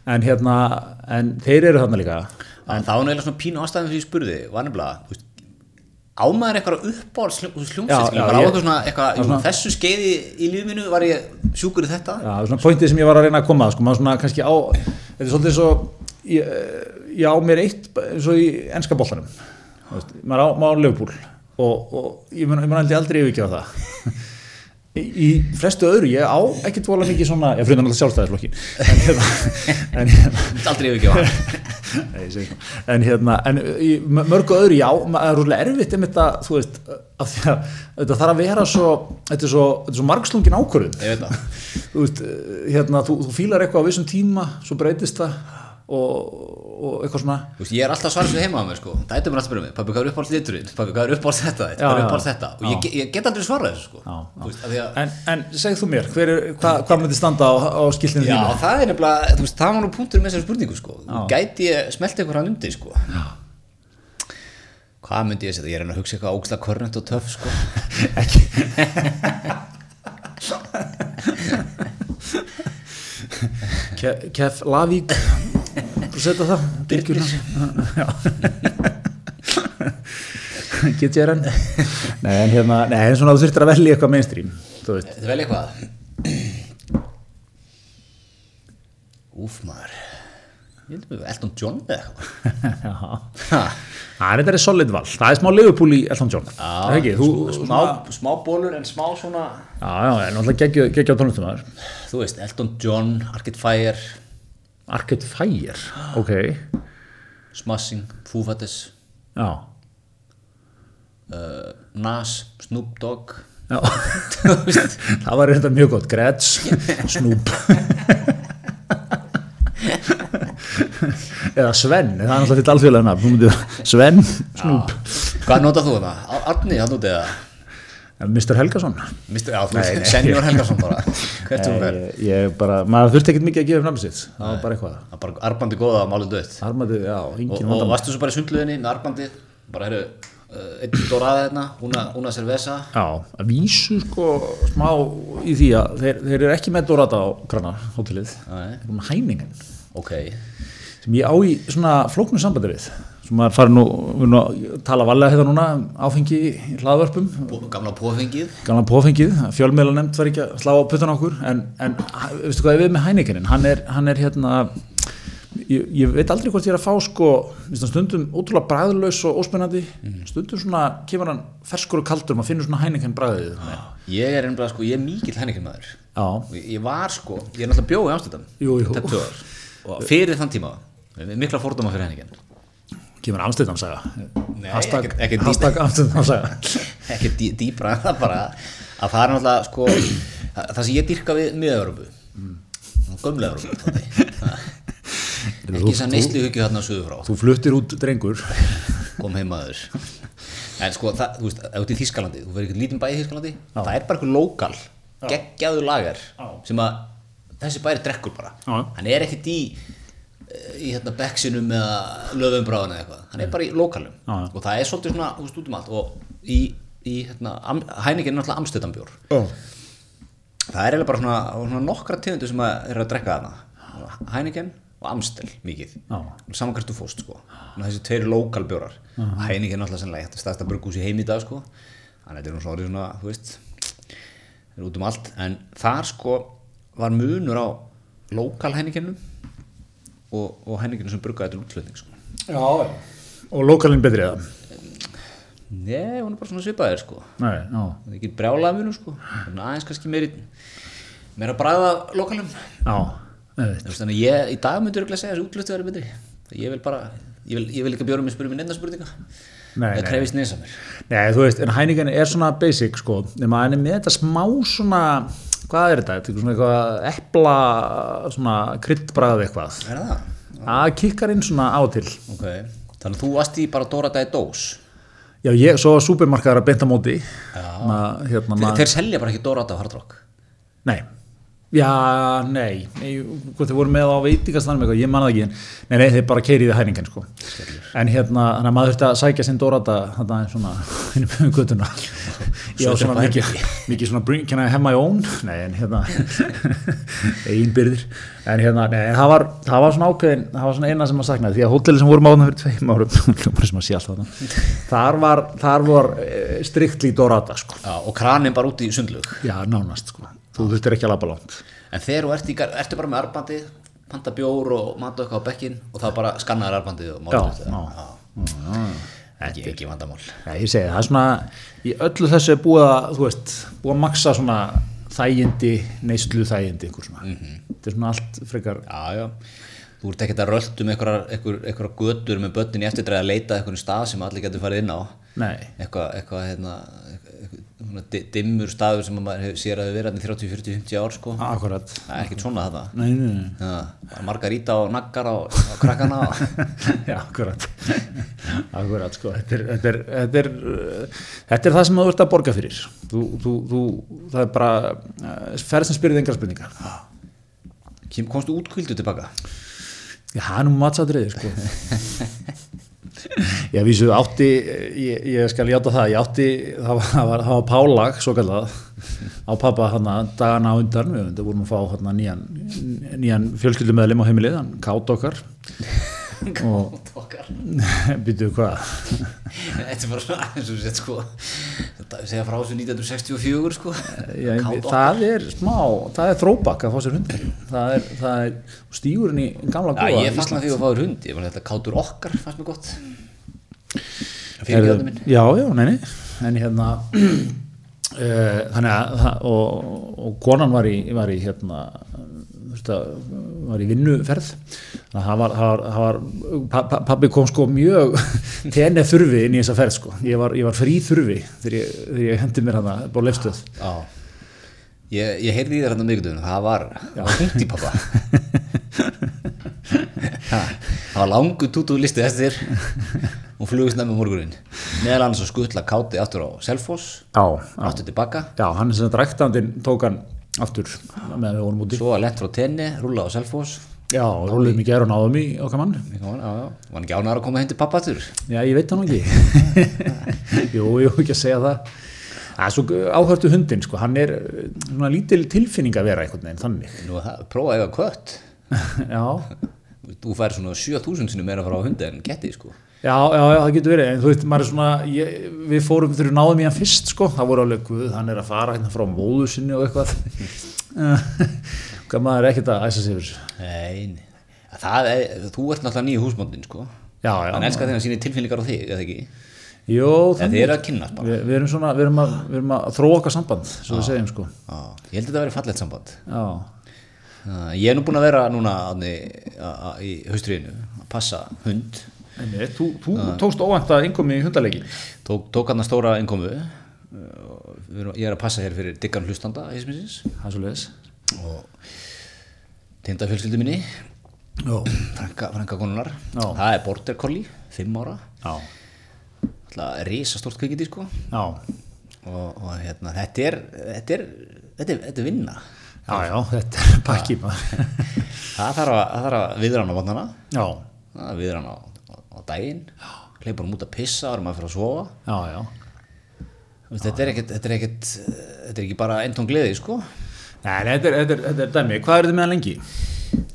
Speaker 2: en hérna en þeir eru þarna líka
Speaker 1: en það var neilega svona pínu ástæðan fyrir ég spurði var nefnilega, þú veist ámaður eitthvað uppáhalds
Speaker 2: Já,
Speaker 1: hljómsveit skilur,
Speaker 2: já,
Speaker 1: bara á
Speaker 2: ég-
Speaker 1: eitthvað svona, eitthvað, jú,
Speaker 2: svona-
Speaker 1: þessu skeiði í lífinu var ég sjúkur í þetta
Speaker 2: Já, svona pointið sem ég var að reyna að koma að, sko, maður svona kannski á, þetta er svolítið svo ég, ég á mér eitt eins og í enska boltanum Þú veist, maður á, maður á lögbúl og, og ég mun aldrei aldrei yfirgefa það í, í flestu öðru ég á ekkert vola mikið svona ég frunan alltaf sjálfstæðisflokkin en hérna, en hérna
Speaker 1: Aldrei ef ekki á hann.
Speaker 2: Nei, ég segi svona. en hérna, en í m- mörgu öðru já, ma- það er rúlega erfitt einmitt að, þú veist, af því að þetta þarf að vera svo, þetta er svo, þetta er svo margslungin ákvörðun
Speaker 1: Ég veit það.
Speaker 2: þú veist, hérna, þú, þú fílar eitthvað á vissum tíma, svo breytist það og, og eitthvað svona
Speaker 1: Þú veist, ég er alltaf svarið heima á mér sko. Það eitthvað mér alltaf að spyrja mig, pabbi hvað er uppáhalds liturinn? Pabbi hvað er uppáhalds þetta?
Speaker 2: Já,
Speaker 1: Hvað er
Speaker 2: já,
Speaker 1: uppáhalds
Speaker 2: já.
Speaker 1: þetta? Og ég, ge- ég get aldrei svarað þessu sko.
Speaker 2: Já, já.
Speaker 1: Þú veist, af því að
Speaker 2: En, en segð þú mér, hver er, hva, hvað myndi standa á, á skiltinu
Speaker 1: Já,
Speaker 2: þínu?
Speaker 1: það er nefnilega, þú veist, það var nú punktur með þessari spurningu sko.
Speaker 2: Já.
Speaker 1: Gæti ég smelt eitthvað hann undi sko? Já. Hvað myndi ég setja? Ég er að reyna að hugsa eitthvað ógslag kornett og töff sko.
Speaker 2: Ke, Kef Lavík, þú setja það, byrgjuna. Já. Get ég hann? Nei, en hérna, nei, en svona þú þurftir að velja eitthvað mainstream, þú veist.
Speaker 1: Þetta er vel eitthvað. Úf maður. Ég heldur mig Elton John eða eitthvað.
Speaker 2: Já.
Speaker 1: Ha.
Speaker 2: Það er þetta er solid val, það er smá Liverpool í Elton John.
Speaker 1: Já,
Speaker 2: Það er ekki, þú,
Speaker 1: smá, smá bólur en smá svona
Speaker 2: já, já, en náttúrulega geggja á tónlistumæður.
Speaker 1: þú veist, Elton John, Arcade Fire
Speaker 2: Arcade Fire, ok,
Speaker 1: Smashing, Foo Fighters
Speaker 2: já,
Speaker 1: uh, Nas, Snoop Dogg
Speaker 2: já. það var reynda mjög gott, Gretz, Snoop, eða Sven, það er alltaf þitt alþjóðlega nafn, þú myndir- Sven, Snoop,
Speaker 1: Hvað notað þú það? Arni, hann notið það
Speaker 2: Mr. Helgason.
Speaker 1: Mister, já, þú veist, Senior Helgason bara Hvert sem þú
Speaker 2: Nei,
Speaker 1: fer
Speaker 2: ég, ég bara, maður þurfti ekkert mikið að gefa um nafn sitt, það var bara eitthvað.
Speaker 1: Það er bara arbandi góða að málu dött
Speaker 2: Armadið, já,
Speaker 1: og,
Speaker 2: engin
Speaker 1: og
Speaker 2: vandamál.
Speaker 1: varstu svo bara í sundluðinni með arbandið bara herru, uh, einn doraði hérna una, una cervesa
Speaker 2: Já, að vísu sko smá í því að þeir, þeir eru ekki með Dorata á Grana hótelið,
Speaker 1: Nei.
Speaker 2: þeir eru með hæmingen.
Speaker 1: Ok,
Speaker 2: sem ég á í svona flóknu sambandi við sem maður farið nú, við erum nú að tala varlega hérna núna, um áfengi í hlaðvörpum
Speaker 1: Bú- gamla pófengið
Speaker 2: gana pófengið, fjölmiðla nefnd var ekki að slá á puttan okkur en, en ha- veistu hvað er við með hænikenin hann er, hann er hérna ég, ég veit aldrei hvort ég er að fá sko veistu, hann stundum ótrúlega bræðlaus og óspennandi
Speaker 1: Mhm.
Speaker 2: stundum svona kemur hann ferskur og kaldur, maður finnur svona hænikenin bræðið ah.
Speaker 1: Ég er einnig sko, ég er mikill hennikinn maður
Speaker 2: já,
Speaker 1: Og Ég var sko, ég er náttúrulega bjóð í Amsterdam
Speaker 2: Jú, jú.
Speaker 1: Tæp tvö ár. og fyrir þann tíma með mikla fordóma fyrir hennikinn
Speaker 2: kemur Amstendam saga
Speaker 1: Nei,
Speaker 2: hashtag,
Speaker 1: ekkert- ekkert
Speaker 2: hashtag Amstendam saga
Speaker 1: ekki dý, dýpra en það bara að það er náttúrulega sko það það sem ég dyrka við miða-Európu mm. gömla-Európu ekki þess að neyslu hugju þarna sögur frá
Speaker 2: þú fluttir út drengur
Speaker 1: kom heimaður en sko, það, þú veist, ef þú ert í Þískalandi þú verður eitthvað lítinn um bæ í Þískalandi það er bara eitthvað lokal, geggjaðu lagar sem að þessi bæri drekkur bara
Speaker 2: Já.
Speaker 1: hann er ekkert í í hérna beksinum eða löfumbráðan eða eitthvað, hann er bara í lokalum
Speaker 2: Já.
Speaker 1: og það er svolítið svona, þú veist, út um allt og í, í hérna, hæningin er náttúrulega amstöðanbjór
Speaker 2: oh.
Speaker 1: það er eiginlega bara svona, svona nokkra tegundu sem að eru að drekka þarna Heineken og Amstel mikið
Speaker 2: Já.
Speaker 1: saman hvert þú fóst sko Þannig að þessi tveir lokal bjórar Heineken er náttúrulega sannlega þetta stærsta burgús í heimi í dag sko þannig að þetta er nú svona orðið svona þú veist er út um allt en þar sko var munur á lokal Heinekenum og, og Heinekenum sem burgaði til útflutning sko
Speaker 2: Já, og lokalinn betri eða?
Speaker 1: Nei, hún er bara svona svipaðir sko
Speaker 2: Nei, já.
Speaker 1: það er ekki brjálaða munur sko en aðeins kannski meiri meira bræða lokalum
Speaker 2: Já, einmitt.
Speaker 1: Þú veist, Þannig að ég, í dag myndur ekki að segja þessi útlöftu verið betri. Það Ég vil bara, ég vil, ég vil ekki bjóra mig spyrja minn einna spurninga.
Speaker 2: Nei,
Speaker 1: það
Speaker 2: nei.
Speaker 1: krefist neins að mér.
Speaker 2: Nei, þú veist, en hæningan er svona basic, sko, nema hann er með þetta smá svona, hvað er þetta, þetta er svona eitthvað epla, svona kryddbræð eitthvað.
Speaker 1: Er það?
Speaker 2: Það kikkar inn svona á og til.
Speaker 1: Ok. Þannig að þú varst í bara Dóra Dæði Dós.
Speaker 2: Já, ég, svo var supermarkaðar að beinta móti.
Speaker 1: Já.
Speaker 2: Ma,
Speaker 1: Þeir,
Speaker 2: hérna, ma,
Speaker 1: þeir selja bara ekki Dóra Dæði á Hard Rock.
Speaker 2: Nei. Já, nei, nei, hvort þeir voru með á veitingastanum eitthvað, ég manna það ekki, en, nei, nei, þeir bara keiriði hæningan, sko. En hérna, þannig að maður þurfti að sækja sinn Dorata, þannig að svona, hinn með göttuna. Ég á
Speaker 1: Svo þetta
Speaker 2: svona
Speaker 1: er
Speaker 2: mikið, mikið svona, bring, can I have my own? Nei, en hérna, einbyrðir. En hérna, nei, en það var, það var svona ákveðin, það var svona eina sem maður saknaði, því að hótelið sem vorum á þannig fyrir tveim árum, hljómar sem að sé alltaf þannig, þar var, þar var striktli Dorata, sko.
Speaker 1: Já, og kranin bara út í sundlug.
Speaker 2: Já, nánast, sko. Þú þurftir ekki að labba langt.
Speaker 1: En þegar þú ert, í, gar- ertu bara með arbandið, panta bjór og mata eitthvað á bekkin og það bara skannaður arbandið og
Speaker 2: Já,
Speaker 1: málið þetta.
Speaker 2: já.
Speaker 1: Já. ekki, ekki vandamál
Speaker 2: Já, ég segi það, það er svona, í öllu þessu er búið að, þú veist, búið að maksa svona þægindi, neyslu þægindi, einhver svona. Þetta er svona allt frekar,
Speaker 1: Já, já. Þú ert ekkert að röltum einhverjar einhver, einhver götur með börnin í eftirdræði að leita að einhvern stað sem allir getur farið inn á.
Speaker 2: nei,
Speaker 1: Eitthvað, eitthvað, hérna, eitthvað, svona di- dimmur staður sem að maður hef- sér að hefur verið hérna í 30, 40, 50 ár, sko.
Speaker 2: akkurat.
Speaker 1: Það er ekkert svona þetta.
Speaker 2: Nei, nei, nei.
Speaker 1: Það margar íta og naggar á, á krakkana og
Speaker 2: Já, akkurat. akkurat, sko. Þetta er, þetta, er, þetta, er, uh, þetta er það sem þú ert að borga fyrir. Þú, þú, þú, það er bara, uh, ferð sem spyrir engar spurningar.
Speaker 1: Kem- komstu útkvildu tilbaka.
Speaker 2: Já, það er nú matsatriði, sko. Já, vísu, átti, ég, ég skal játa það, ég átti, það var, það var, það var pálag, svo kallað, á pappa hana dagana á undan, við þetta vorum að fá hana nýjan, nýjan fjölskyldumeðlim á heimilið, hann kátt okkar og
Speaker 1: Tókar.
Speaker 2: býtu hvað,
Speaker 1: Þetta er bara svona eins og sett sko, þetta segja frá þessu 1964 sko.
Speaker 2: Já, ég-
Speaker 1: Kátt
Speaker 2: það er smá, það er þróbak að fá sér hund, það er, það er stígurinn í gamla
Speaker 1: Já,
Speaker 2: góða
Speaker 1: ég fannst maður því að fáður hund, ég var þetta kátur okkar, fannst mér gott. Fyrir
Speaker 2: Heyrðu,
Speaker 1: gjöðum minn.
Speaker 2: Já, já, neini en hérna uh, þannig að það- og, og konan var í, var í hérna þú veist að, var í vinnuferð þannig að það var, það var, það var pa- pa- pabbi kom sko mjög tenni þurfi inn í þessa ferð sko ég var, ég var frí þurfi þegar ég, þegar ég hendi mér hérna hana bara leifstöð
Speaker 1: Já. Ég, ég heyrði í þér hann á miðgutunum, það var, það var hund í pappa. það var langu tútu listið eftir og flugist nefnum morgunin. Meðal annars að skutla káti aftur á Selfoss,
Speaker 2: Já,
Speaker 1: aftur tilbaka,
Speaker 2: já, hann er sem þetta ræktandinn tók hann aftur meðan við vorum úti
Speaker 1: svo að lent frá tenni, rúla á Selfoss.
Speaker 2: Já, rúluðum í gerð og náðum í okkar mann.
Speaker 1: Mikið mál, Já, já. Var hann ekki ánæður að koma heim til pappa aftur?
Speaker 2: Já, ég veit það nú ekki. jú, jú, ekki að segja það. Það er svo áhörtu hundin, sko, hann er eh, svona lítil tilfinning að vera einhvern veginn þannig.
Speaker 1: Nú, það- prófa að eiga kött.
Speaker 2: já,
Speaker 1: Þú fær svona 7000 sinni meira frá hundi en ketti, sko.
Speaker 2: já, já, já, það getur verið, en þú veit, maður er svona, ég, við fórum þegar við náðum í hann fyrst, sko, það voru alveg, guð, hann er að fara hérna frá móðu sinni og eitthvað. Hvað maður er ekkert að æsa sig fyrir þessu.
Speaker 1: Nei, nei. það er, þú ert náttúrulega nýju húsbóndin sko
Speaker 2: Já,
Speaker 1: Hann
Speaker 2: já,
Speaker 1: elskar þegar hann sýnir tilfinningar á þig, eða ekki
Speaker 2: jú,
Speaker 1: Eða þið
Speaker 2: þannig.
Speaker 1: eru að kynna bara
Speaker 2: Við, við erum svona, við erum að, við erum að þróa okkar samband, svo við segjum, sko.
Speaker 1: Á, Ég held að þetta verið fallegt samband
Speaker 2: Já,
Speaker 1: Á, Ég er nú búinn að vera núna ánni, a, a, í haustriðinu að passa hund
Speaker 2: Einmitt, þú, þú tókst óvænt að innkomi í hundaleikin
Speaker 1: Tók, tók hann að stóra innkomu uh, og við erum- Ég er að passa hér fyrir diggan hlustanda Ísmisins
Speaker 2: Það er svo leiðis
Speaker 1: og tinda fjölskyldu minni
Speaker 2: Já,
Speaker 1: Franka, franka konunar
Speaker 2: Já.
Speaker 1: Það er Border Collie, fimm ára Alltaf risastórt kvikindi sko
Speaker 2: já,
Speaker 1: og, og hérna, þetta er þetta er, þetta er, þetta er vinna
Speaker 2: já, já þetta er pakki maður
Speaker 1: það þarf að, það þarf að viðrana á vatnana
Speaker 2: Já,
Speaker 1: það viður hann á, á, á daginn hleypur hann út að pissa árum að fyrir að sofa
Speaker 2: já, já
Speaker 1: Þú veist, þetta er ekkert þetta er ekkert, eh, þetta er ekki bara eintón gleði sko
Speaker 2: Nei, nei, þetta er, þetta er, þetta er dæmi, hvað eru þið með hann lengi?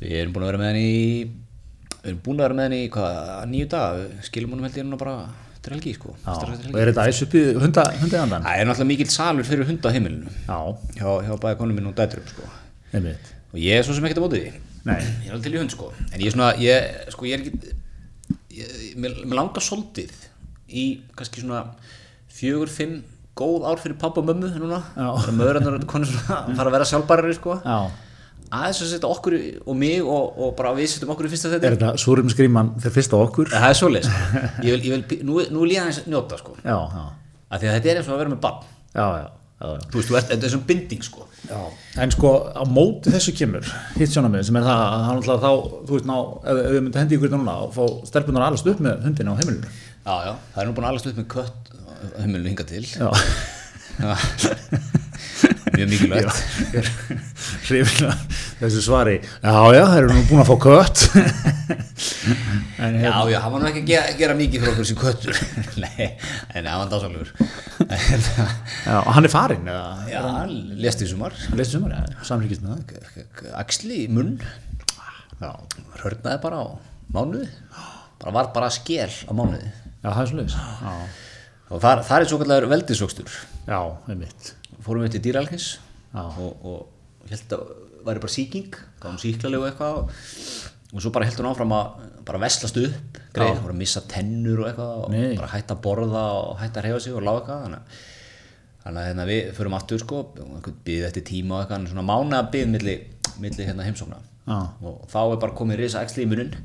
Speaker 1: við erum búin að vera með hann í við erum búin að vera með hann í hvað, nýju dag Við skilum honum held ég núna bara til helgi sko
Speaker 2: Já,
Speaker 1: Strax eftir
Speaker 2: og
Speaker 1: helgi.
Speaker 2: er þetta æs upp í hunda, hundajandan?
Speaker 1: það er náttúrulega mikill salur fyrir hunda á heimilinu
Speaker 2: Já,
Speaker 1: hjá, hjá bæði konum minn og dætturum sko
Speaker 2: einmitt
Speaker 1: og ég er svo sem ekkert að bóti því
Speaker 2: Nei,
Speaker 1: Ég er alveg til í hund sko En ég er svona, ég, sko, ég er ekki ég, mér, mér langar svolítið í kannski svona fjögur, fimm góð ár fyrir pappa og mömmu núna
Speaker 2: Já.
Speaker 1: Það er möðurinnar að konu svona að fara að vera sjálfbærari sko
Speaker 2: já
Speaker 1: Aðeins að setja okkur í- og mig og, og bara við setjum okkur í fyrsta þetta
Speaker 2: Er þetta súrum skrýman fyrir fyrst á okkur?
Speaker 1: Það er svoleiðis sko. Ég vil, ég vil, pi- nú, nú vil ég aðeins njóta sko
Speaker 2: Já, já,
Speaker 1: Af því að þetta er eins og að vera með barn
Speaker 2: já, já, já, já.
Speaker 1: Þú veist, þú ert, þetta er svona binding sko
Speaker 2: Já, en sko á móti þessu kemur hitt sjónamið sem er það að hann alltaf þá, þú veist ná, ef ef við myndum hendi ykkur þetta núna og fá stelpunar að alast upp með hundina á heimilinu
Speaker 1: Já, já, það er nú búin að alast upp með kött á heimilinu hinga til
Speaker 2: Já,
Speaker 1: Já. Mjög mikilvægt
Speaker 2: hrifin að þessu svari Já, já, það eru nú búin að fá kött En hérna,
Speaker 1: Já, já, hann var nú ekki að gera, gera mikið fyrir okkur sem köttur Nei, en hann var dásalugur Já,
Speaker 2: já, og hann er farinn eða,
Speaker 1: hann lést í sumar
Speaker 2: hann leist sumar, já, samrýkist með það
Speaker 1: Axli í munn
Speaker 2: Já,
Speaker 1: Hörnaði bara á mánuði Bara var bara skél á mánuði
Speaker 2: já, það er svo leis Já,
Speaker 1: Og þar, þar er svo kallar veldisvöxtur
Speaker 2: já, einmitt
Speaker 1: Fórum við til dýralkins
Speaker 2: Já.
Speaker 1: og, og held að væri bara sýking Gáum sýklarlegu eitthvað og og svo bara held hún áfram að bara veslast upp greið, bara missa tennur og eitthvað og
Speaker 2: Nei.
Speaker 1: bara hætta að borða og hætta að hreyfa sig og lága eitthvað þannig að, þannig að hérna, við förum aftur sko býðið eftir tíma og eitthvað en svona mánaða býð milli, milli hérna, heimsókna
Speaker 2: Já.
Speaker 1: og þá er bara komið risa axli í munun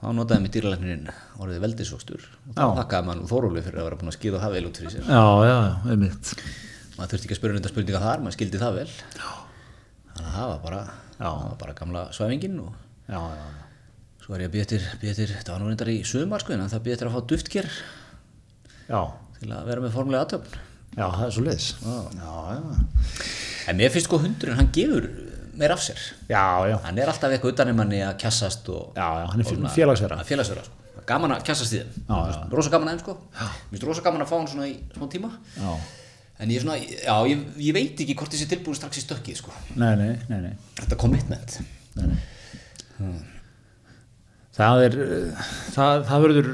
Speaker 1: þá notaði mig dýralæknirinn orðið veldisvöxtur og þá
Speaker 2: Já.
Speaker 1: þakkaði mann Þórólu fyrir að vera búin að skýða það vel út fyrir sér
Speaker 2: já, já, einmitt
Speaker 1: maður þurfti ekki að spyrja neitt spurninga þar, maður skildi það vel þannig að það var bara, það var bara gamla svæfingin og
Speaker 2: já, já, já.
Speaker 1: svo er ég að býða eftir, býða eftir það var nú reyndar í sumar sko en það býða eftir að fá duftkér
Speaker 2: já,
Speaker 1: til að vera með formulega aðtöfn
Speaker 2: já, það er svo liðs já, já,
Speaker 1: en mér finnst sko hundurinn, hann gefur meir af sér
Speaker 2: já, já
Speaker 1: hann er alltaf eitthvað utan um hann að kjassast og
Speaker 2: já, já, hann er félagsverða
Speaker 1: að félagsverða sko. Það er gaman að kjassast í þeim
Speaker 2: Já,
Speaker 1: Mér finnst rosa gaman aðeins sko mér finnst rosa gaman að fá hann svona í smá tíma
Speaker 2: já,
Speaker 1: en ég, er svona, já, ég, ég veit ekki hvort þessi tilbúin strax í stökkið sko
Speaker 2: nei, nei, nei, nei
Speaker 1: þetta commitment
Speaker 2: það er, uh, það, það verður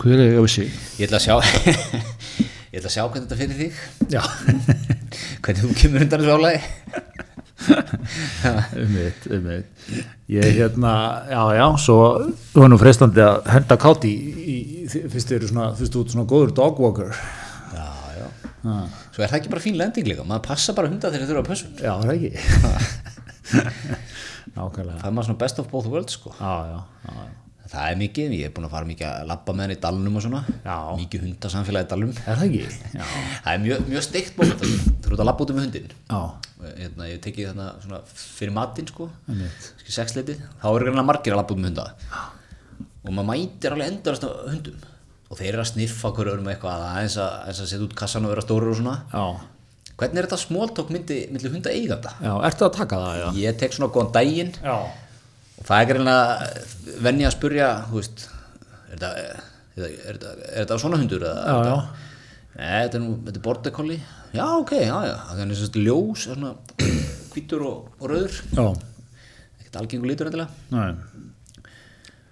Speaker 2: hver er það sig
Speaker 1: Ég ætla að sjá Ég ætla að sjá hvernig þetta fyrir þig
Speaker 2: já,
Speaker 1: Hvernig þú kemur undan þessu álægi
Speaker 2: umveit, umveit ég hérna, já, já, svo var nú freistandi að henda kátt í, í í- fyrst þið eru svona, fyrst þú ert svona góður dogwalker
Speaker 1: Já, já Svo er það ekki bara fín lending líka Maður passa bara hunda þegar þeir þurfa að pössun
Speaker 2: já, það er ekki nákvæmlega
Speaker 1: Það er maður svona best of both worlds sko
Speaker 2: já, já, já, já
Speaker 1: Það er mikið, ég er búin að fara mikið að labba með henni í dalnum og svona
Speaker 2: Já.
Speaker 1: Mikið hundasamfélagi í dalnum
Speaker 2: Er það ekki? Já.
Speaker 1: Það er mjög, mjög steikt bótt Þú ert að labba út um með hundin
Speaker 2: Já,
Speaker 1: Hérna, ég hef tekið þarna svona fyrir matinn sko
Speaker 2: einmitt.
Speaker 1: sexleitið, þá eru greinlega margir að labba út með hunda og maður mætir alveg endurast af hundum og þeir eru að sniffa hverju örum eitthvað aðeins að, aðeins að setja út kassan og vera stóru og svona
Speaker 2: Já.
Speaker 1: hvernig er þetta smóltók myndi, myndi hunda eiga þetta?
Speaker 2: Já, ertu að taka það, já?
Speaker 1: Ég tek svona góðan daginn
Speaker 2: Já.
Speaker 1: og það er greinlega venja að spurja þú veist, er þetta, er þetta, er þetta, er þetta svona hundur? Eða,
Speaker 2: Já, já.
Speaker 1: Nei, þetta er nú, þetta er border collie Já, ok, já, já, það er svona ljós svona hvítur og, og rauður
Speaker 2: Já.
Speaker 1: ekkert algengur lítur endilega
Speaker 2: Nei.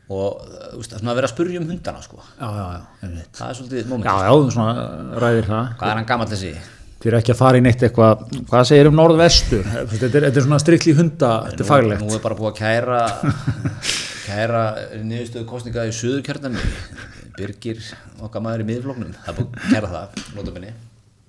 Speaker 1: og þú veist, svona að vera að spurja um hundana sko.
Speaker 2: Já, já, já, einmitt.
Speaker 1: það er svolítið moment
Speaker 2: Já, já, þú svona ræðir það.
Speaker 1: hvað er hann gamall þessi?
Speaker 2: Þið eru ekki að fara í neitt eitthvað, hvað segir um norðvestur? Þetta er, þetta er svona strikli hunda, þetta er faglegt.
Speaker 1: nú er bara búið að kæra kæra niðurstöðu kostninga í suðurkjörnum Birgir okkar maður í miðfloknum það er búið að kæra það, nota minni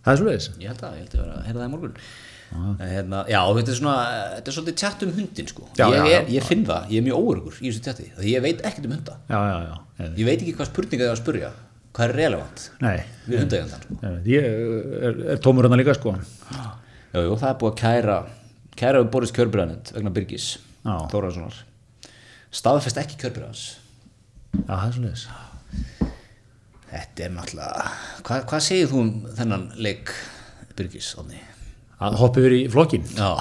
Speaker 2: Það er svolítið.
Speaker 1: ég held að, ég held að vera að heyra það í morgun En hérna, já, þetta er svona þetta er svolítið tjátt um hundin sko
Speaker 2: Já,
Speaker 1: ég,
Speaker 2: já, já.
Speaker 1: er, ég finn það, ég er mjög óurugur í þessu tjátti því ég veit ekkert um hunda
Speaker 2: Já, já, já. einmitt.
Speaker 1: ég veit ekki hvað spurninga það er að spurja hvað er relevant
Speaker 2: Nei.
Speaker 1: við hundaegjandan sko.
Speaker 2: einmitt. Ég er, er tómur hann líka, sko.
Speaker 1: Jú, jú, það er búið að kæra kæra við Boris Kjörbræðanend vegna Byrgis
Speaker 2: Já.
Speaker 1: Þóraðssonar staðfest ekki Kjörbræðans
Speaker 2: Já, það er svolítið.
Speaker 1: Þetta er náttúrulega Hva, Hvað segir þú um þennan leik Byrgis, Onni?
Speaker 2: Að hoppa yfir í flokkin.
Speaker 1: Já,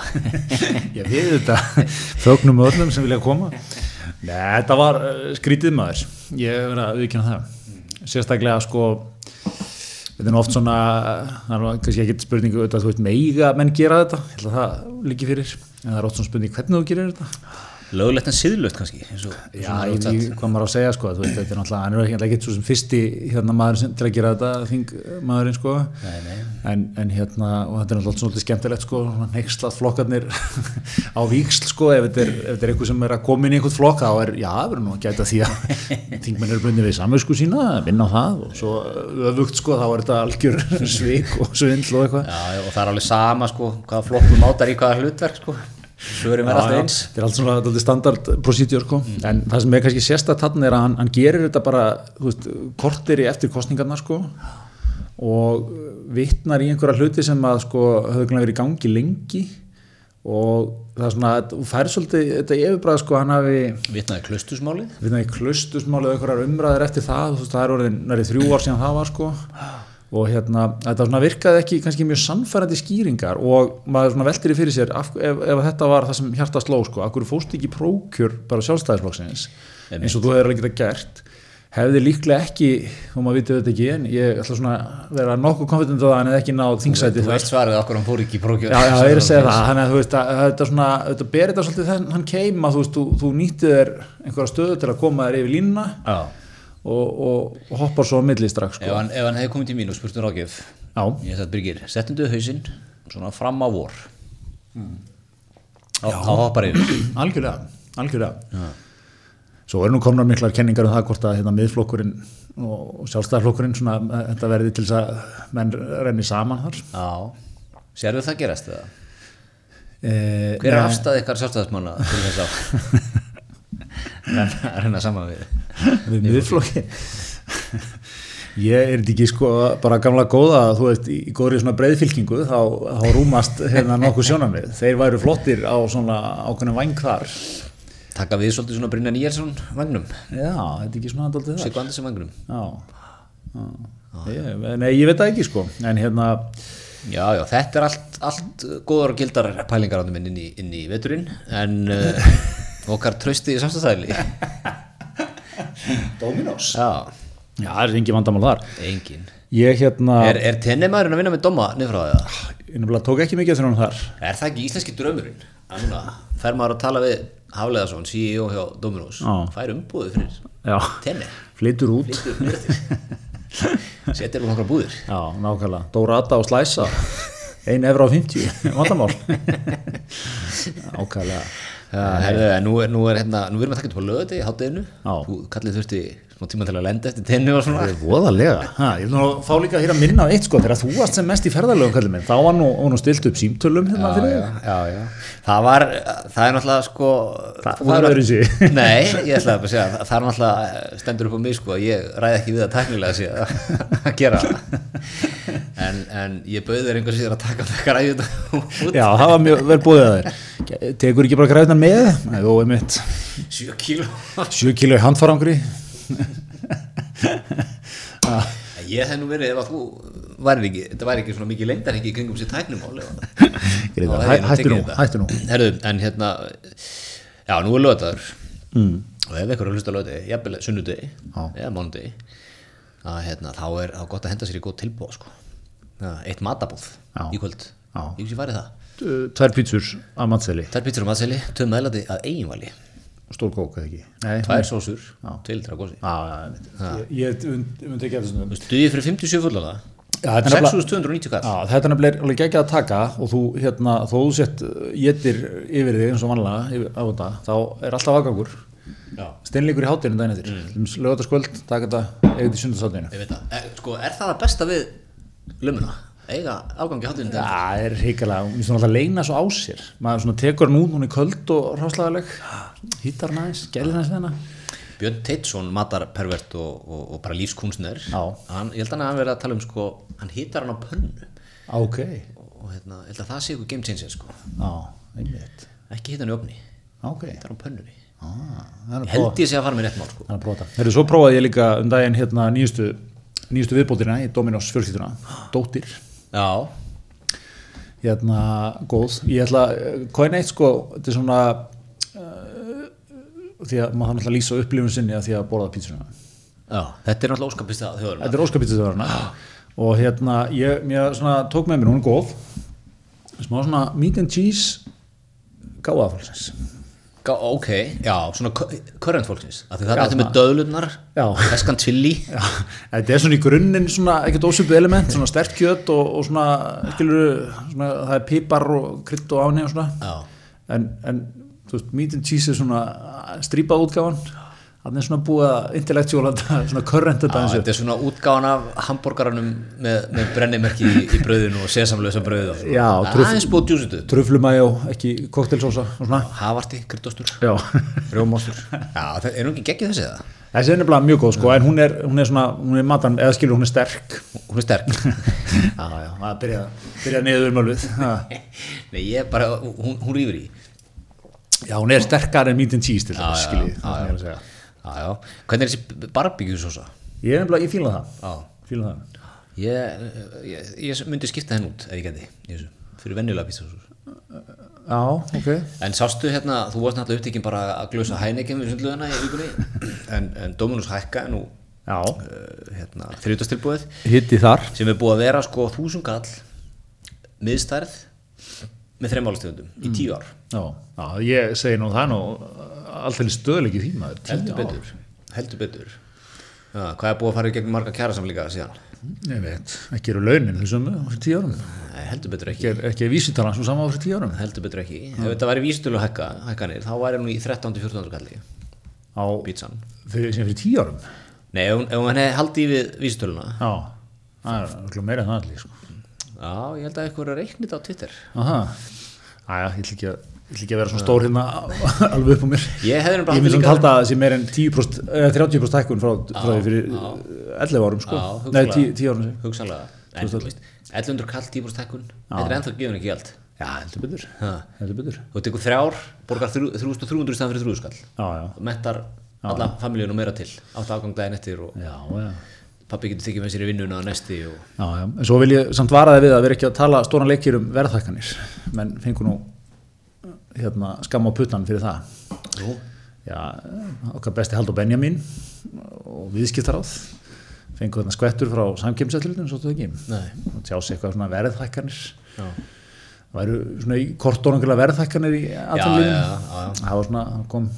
Speaker 2: Ég við þetta þögnum öllum sem vilja koma Nei, þetta var eh, skrítið maður ég hef verið að viðkynna það sérstaklega sko þetta er nú oft svona það er nú kannski ekkert spurningu auðvitað að þú veit meiga menn gera þetta, ég held að það líki fyrir en það er oft svona spurning hvernig þú gerir þetta
Speaker 1: löglegt en síðlögt kannski eins og,
Speaker 2: Já, ég veit hvað maður á að segja sko þú veit, þetta er náttúrulega, hann er ekki ekkert svo sem fyrsti hérna maður sem, til að gera þetta þing maðurinn sko
Speaker 1: Nei, nei.
Speaker 2: En, en hérna, og þetta er náttúrulega svolítið skemmtilegt sko, neykslað flokkarnir á víksl sko, ef þetta er, ef þetta er eitthvað sem er að koma inn í einhvern flokk, þá er, já, það verður nú að gæta því að þingmenn eru bundið við samvösku sína, vinna á það og svo öfugt sko, þá er þetta algjör svik og svindl og eitthvað.
Speaker 1: Já, já, og það er alveg sama sko hvaða flokkur mátar í hvaða hlutverk sko Svörum er
Speaker 2: Já,
Speaker 1: alltaf
Speaker 2: já,
Speaker 1: eins Mm.
Speaker 2: Þetta er allt svona alltaf standard procedure sko. en það sem er kannski sérstætt hann er að hann, hann gerir þetta bara þú veist, kortir í eftir kostningarna sko, og vittnar í einhverja hluti sem að sko, höfðu glæði verið í gangi lengi og það er svona þú fær svolítið þetta yfirbræð sko, hann hafi
Speaker 1: Vitnaði klustusmálið
Speaker 2: við það í klustusmálið og einhverjar umræðir eftir það, þú veist, það er orðin næri þrjú ár síðan það var sko og hérna, þetta svona virkaði ekki kannski mjög sannfærandi skýringar og maður svona veltir í fyrir sér af, ef, ef þetta var það sem hjarta sló sko, af hverju fóst ekki í prókjör bara sjálfstæðisflokksins
Speaker 1: Einmitt.
Speaker 2: eins og þú hefur alveg geta gert hefði líklega ekki, þú maður vitið þetta ekki en ég ætla svona að vera nokkuð konfident að það en hefði ekki náð þingsæti
Speaker 1: Þú veist svarið okkur hann fór ekki í prókjör
Speaker 2: Já, já, ég er að segja það, þannig að þú veist að að þetta svona, þetta ber þetta svolítið þann, hann keim að þú veist, þú, þú nýttir þér einhverja stöðu til að koma þér yfir línuna
Speaker 1: Já,
Speaker 2: og, og, og hoppar svo að milli strax,
Speaker 1: ef
Speaker 2: sko.
Speaker 1: hann, ef hann hefði komið til mín og spurt um ráðgjöf
Speaker 2: Já,
Speaker 1: Ég sagði Birgir, settum duð hausinn svona fram á vor
Speaker 2: Mm.
Speaker 1: þá þá hoppar yfir
Speaker 2: algjörlega, algjörlega. svo er nú komnar miklar kenningar um það hvort að hérna, miðflokkurinn og sjálfstæðarflokkurinn svona, eh, þetta verði til þess að menn renni saman þar
Speaker 1: Já, sérðu það gerast það?
Speaker 2: Eh,
Speaker 1: Hver er
Speaker 2: nei,
Speaker 1: afstæð ykkar sjálfstæðismanna til þess að renna, renna saman við?
Speaker 2: við miðflokki ég er þetta ekki sko bara gamla góða að þú veist í í góðri svona breiðfylkingu þá, þá rúmast hérna nokkuð sjónamið þeir væru flottir á svona ákveðnum væng þar
Speaker 1: Taka við svolítið svona Brynja Nýjarsson vagnum,
Speaker 2: já, þetta er ekki svona andaldið þar
Speaker 1: Siggo Andersen vagnum
Speaker 2: já, já. Ég, nei, ég veit það ekki sko en hérna,
Speaker 1: Já, já, þetta er allt, allt góðar og gildar pælingar ánum inn, í- inn í veturinn en uh, okkar trausti í samstæðstæðli
Speaker 2: Dominos
Speaker 1: Já,
Speaker 2: já, það er engin vandamál þar
Speaker 1: engin
Speaker 2: ég hérna,
Speaker 1: Er, er tennemaðurinn að vinna með doma niður frá það?
Speaker 2: ég nefnilega tók ekki mikið eftir hún þar
Speaker 1: Er það ekki íslenski draumurinn? Að Núna, fer maður að tala við Hafleðarsson, CEO hjá Dominós
Speaker 2: Já.
Speaker 1: fær umbúðu fyrir
Speaker 2: já,
Speaker 1: tenni
Speaker 2: flytur út
Speaker 1: Lítur mér til Setir um okkar búðir
Speaker 2: já, nákvæmlega, Dórata og Slæsa ein evra á 50, vandamál ákvæmlega
Speaker 1: Já, Eh, herðu, en nú er, nú er hérna, nú erum við að taka upp á löðu í hátteginu,
Speaker 2: Já.
Speaker 1: þú kallið þurfti smá tíma til að lenda eftir tenni og svona
Speaker 2: voðalega, ha, ég vil nú fá líka hér að minna á eitt sko, þegar þú varst sem mest í ferðalögum kallið minn, þá var nú, var nú stilt upp símtölum hérna fyrir þig.
Speaker 1: já, já. Það var, það er náttúrulega sko
Speaker 2: Þa- það er öðruvísi.
Speaker 1: Nei, ég ætla bara að segja, það- það er náttúrulega stendur upp á mig sko, að ég ræði ekki við það tæknilega síðan að gera það en, en ég bauð þér einhver síðan að taka með græðu þetta út
Speaker 2: Já, það var mjög vel búið að þeir Tekur ekki bara græðunar með? Nei, þú er mitt
Speaker 1: 7 kíló
Speaker 2: 7 kilo í handfarangri
Speaker 1: Ég hef nú verið ef að þú væri ekki, þetta væri ekki svona mikið lengdar ekki í kringum sér tæknumál
Speaker 2: Greiða, hæ- hættu nú, hættu nú.
Speaker 1: Herðu, en hérna, já, nú er lögðar mm. og ef einhver er að hlusta lögði, jafnvel sunnudegi eða mánudegi að hérna, þá er þá er gott að henda sér í góð tilbúð sko. Já, eitt matabúð
Speaker 2: Já.
Speaker 1: í kvöld
Speaker 2: Já.
Speaker 1: ég ekki farið það,
Speaker 2: Tvær pítsur að mannseli
Speaker 1: þær pítur um aðseli töm meðlati að eiginvali,
Speaker 2: Stór kók eða ekki Nei,
Speaker 1: tvær sósur til litra gósi,
Speaker 2: Mm. Já, já, já, einmitt. Ég- Ég myndi ekki að þessum
Speaker 1: stuði fyrir 57 fullana
Speaker 2: Já, þetta er nefnilega-
Speaker 1: 6290 kall
Speaker 2: Já, þetta er nefnilega alveg geggjað að taka og þú, hérna, þó þú sett getir yfir þig eins og vanlega yfir, á þetta, þá er alltaf aðgangur
Speaker 1: Já.
Speaker 2: steinleikur í hátinu daginn eftir mm. lögataskvöld, taka þetta eigið til sundarsáttinu
Speaker 1: Ég veit það, er, sko, er það að besta við lumuna? Eiga afgangi hátunum
Speaker 2: Já,
Speaker 1: dag?
Speaker 2: það er hrikalega, mér finnst hún alltaf að leina svo á sér maður svona tekur hún út, hún er köld og ráslagaleg, hýtar næs gælir næs við hana
Speaker 1: Björn Teitsson, matarpervert og, og, og bara lífskunstner,
Speaker 2: Já.
Speaker 1: hann, ég held að hann verið að tala um, sko, hann hittar hann á pönnu
Speaker 2: Ok,
Speaker 1: og hérna, ég held að það sé ykkur game changer, sko,
Speaker 2: á, einmitt
Speaker 1: ekki hitta hann í ofni,
Speaker 2: Ok,
Speaker 1: hittar hann á pönnunni.
Speaker 2: ah, það er að prófa
Speaker 1: Held ég sé að fara með rétt mál, sko.
Speaker 2: Það er að prófa þetta. Heyrðu, Svo prófaði ég líka um daginn hérna nýjustu, nýjustu viðbótina í Dominos fjölskylduna, dóttir
Speaker 1: Já,
Speaker 2: hérna góð, ég ætla hvað eitt sko, þetta er svona uh, því að maður þarf náttúrulega að lýsa upplifun sinni að því að borða pítsuna
Speaker 1: já, þetta er náttúrulega óskapist að þjóðurna.
Speaker 2: þetta er óskapítsuna og hérna, ég mér svona, tók með mér, hún er góð smá svona meat and cheese gáðafálsins
Speaker 1: Gá, ok, já, svona körrent fólksins, af því það
Speaker 2: Já,
Speaker 1: er þetta með döðlunar,
Speaker 2: Já.
Speaker 1: feskan chili.
Speaker 2: Já, þetta er svona í grunninn svona ekkert ósöpuð element, svona stert kjöt og, og svona, skilur svona, það er pipar og krydd og áni og svona
Speaker 1: Já.
Speaker 2: en, en þú veist, meat and cheese er svona strípað útgáfan þannig er svona búið að intellectual svona körrent þetta
Speaker 1: Já,
Speaker 2: eins og
Speaker 1: þetta er svona útgáðan af hambúrgaranum með, með brennimerki í, í brauðinu og sesamlösa brauðið og svona.
Speaker 2: Já,
Speaker 1: Það er
Speaker 2: truff-
Speaker 1: aðeins búið djúsutu.
Speaker 2: tröflumæjó, ekki koktelsósa og svona,
Speaker 1: Havarti, kryddostur,
Speaker 2: já
Speaker 1: rjómástur. Já, það er nú ekki geggið þessi það.
Speaker 2: þessi er nefnilega mjög góð sko, en hún er, hún er svona, hún er matan, eða skilur hún er sterk
Speaker 1: Hún er sterk.
Speaker 2: já, já, það byrja, byrja niður
Speaker 1: um
Speaker 2: mölvið
Speaker 1: Nei, ég er bara, hún, hún rýfur í.
Speaker 2: já, hún er sterkar en meat and cheese til þetta,
Speaker 1: já,
Speaker 2: skiljið,
Speaker 1: já,
Speaker 2: það er
Speaker 1: já.
Speaker 2: að segja
Speaker 1: Já, já. Hvernig er þessi barbíkjusósa?
Speaker 2: Ég er nefnilega, ég fíla það.
Speaker 1: Já.
Speaker 2: Fíla það.
Speaker 1: Ég, ég, ég myndi skipta henn út, ef ég geti, í þessu, fyrir venjulega pítsasósu.
Speaker 2: Já, ok.
Speaker 1: En sástu hérna, þú varst náttúrulega upptekinn bara að glösa hænekjum við sundlöðuna í vikunni, en, en Dominus hækka nú
Speaker 2: Já.
Speaker 1: uh, hérna, þriðutastilbúið
Speaker 2: Hitti þar.
Speaker 1: sem er búið að vera sko þúsungall miðstærð með þreymálstegundum í tíu ár
Speaker 2: Já, já ég segi nú það nú alltaf stöðleiki því maður. Tíu
Speaker 1: heldur
Speaker 2: ár.
Speaker 1: betur, heldur betur. Ja, hvað er búið að fara í gegn marga kjæra samlíka síðan?
Speaker 2: Ég veit, ekki eru launin þessum fyrir tíu árum.
Speaker 1: Nei, heldur betur
Speaker 2: Ekki
Speaker 1: ekki
Speaker 2: er, ekki er vísitalan svo sama fyrir tíu árum.
Speaker 1: heldur betur ekki, ef þetta væri vísitölu hækka, hækkanir þá væri nú í 13-14 kalli
Speaker 2: á,
Speaker 1: pítsan
Speaker 2: fyrir, sem fyrir tíu árum
Speaker 1: Nei, ef hún, ef hún hefði haldið í við vísutöluna
Speaker 2: já, það er örugglega meira en það allir sko.
Speaker 1: Já, ég held að eitthvað er að reikna þetta á Twitter
Speaker 2: aha, aðja, ég ætla ekki að ég ætla ekki að vera svona stór hérna alveg upp á mér
Speaker 1: Ég hefði nefnilega
Speaker 2: ég
Speaker 1: haldið
Speaker 2: myndi samt
Speaker 1: líka-
Speaker 2: halda að það sé meir en 10%, eh, 30% hækkun frá, frá því fyrir á. 11 árum sko,
Speaker 1: Já,
Speaker 2: nei
Speaker 1: hugsanlega.
Speaker 2: 10, 10 árum sem.
Speaker 1: Hugsanlega En þú veist, 1100 kall 10% hækkun Þetta er ennþá gefin ekki gjald
Speaker 2: já, heldur betur
Speaker 1: Ha.
Speaker 2: heldur betur,
Speaker 1: Þú tekur þrjár, borgar þrjú- 3300 staðan fyrir 3000 skall
Speaker 2: já, já
Speaker 1: og mettar alla familjónu meira til átt afganglega eftir og
Speaker 2: já, já
Speaker 1: pappi getur þykir með sér í vinnuna að næsti og
Speaker 2: Já, já, en svo vil ég samt varaði við að vera ekki að tala stóran leikir um verðhækkanir menn fengur nú hérna, skam á puttan fyrir það
Speaker 1: Nú?
Speaker 2: já, okkar besti Haldur Benjamin og viðskiptaráð fengur þarna skvettur frá samkemsætlutinu svo þetta ekki
Speaker 1: Nei.
Speaker 2: og tjá sig eitthvað svona verðhækkanir
Speaker 1: Já.
Speaker 2: það væru svona í kortónangilega verðhækkanir í
Speaker 1: Já,
Speaker 2: aðtalinu
Speaker 1: já, já, já.
Speaker 2: það var svona, það kom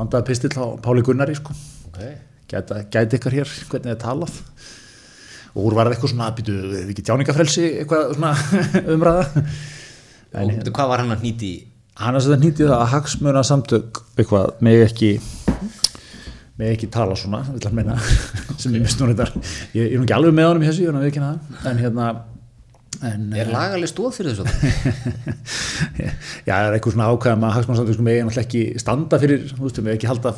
Speaker 2: vandaði pistill á Páli Gunnari sko
Speaker 1: Ok
Speaker 2: gæta, gæti ykkur hér hvernig þið talað og úr var það eitthvað svona býtu, er ekki tjáningafrelsi eitthvað svona umræða
Speaker 1: Og veitu hvað var hann að nýti í?
Speaker 2: hann er sem þetta nýtið það að hagsmuna samtök eitthvað, með ekki með ekki tala svona vill hann meina, sem ég mist nú þetta ég, ég er nú ekki alveg með honum í þessu, ég er nú ekki það en hérna en,
Speaker 1: Er lagaleg stóð fyrir þessu?
Speaker 2: já, það er eitthvað svona ákvæðum að hagsmannsamtökum megi náttúrulega ekki standa fyrir, þú veist, megi ekki halda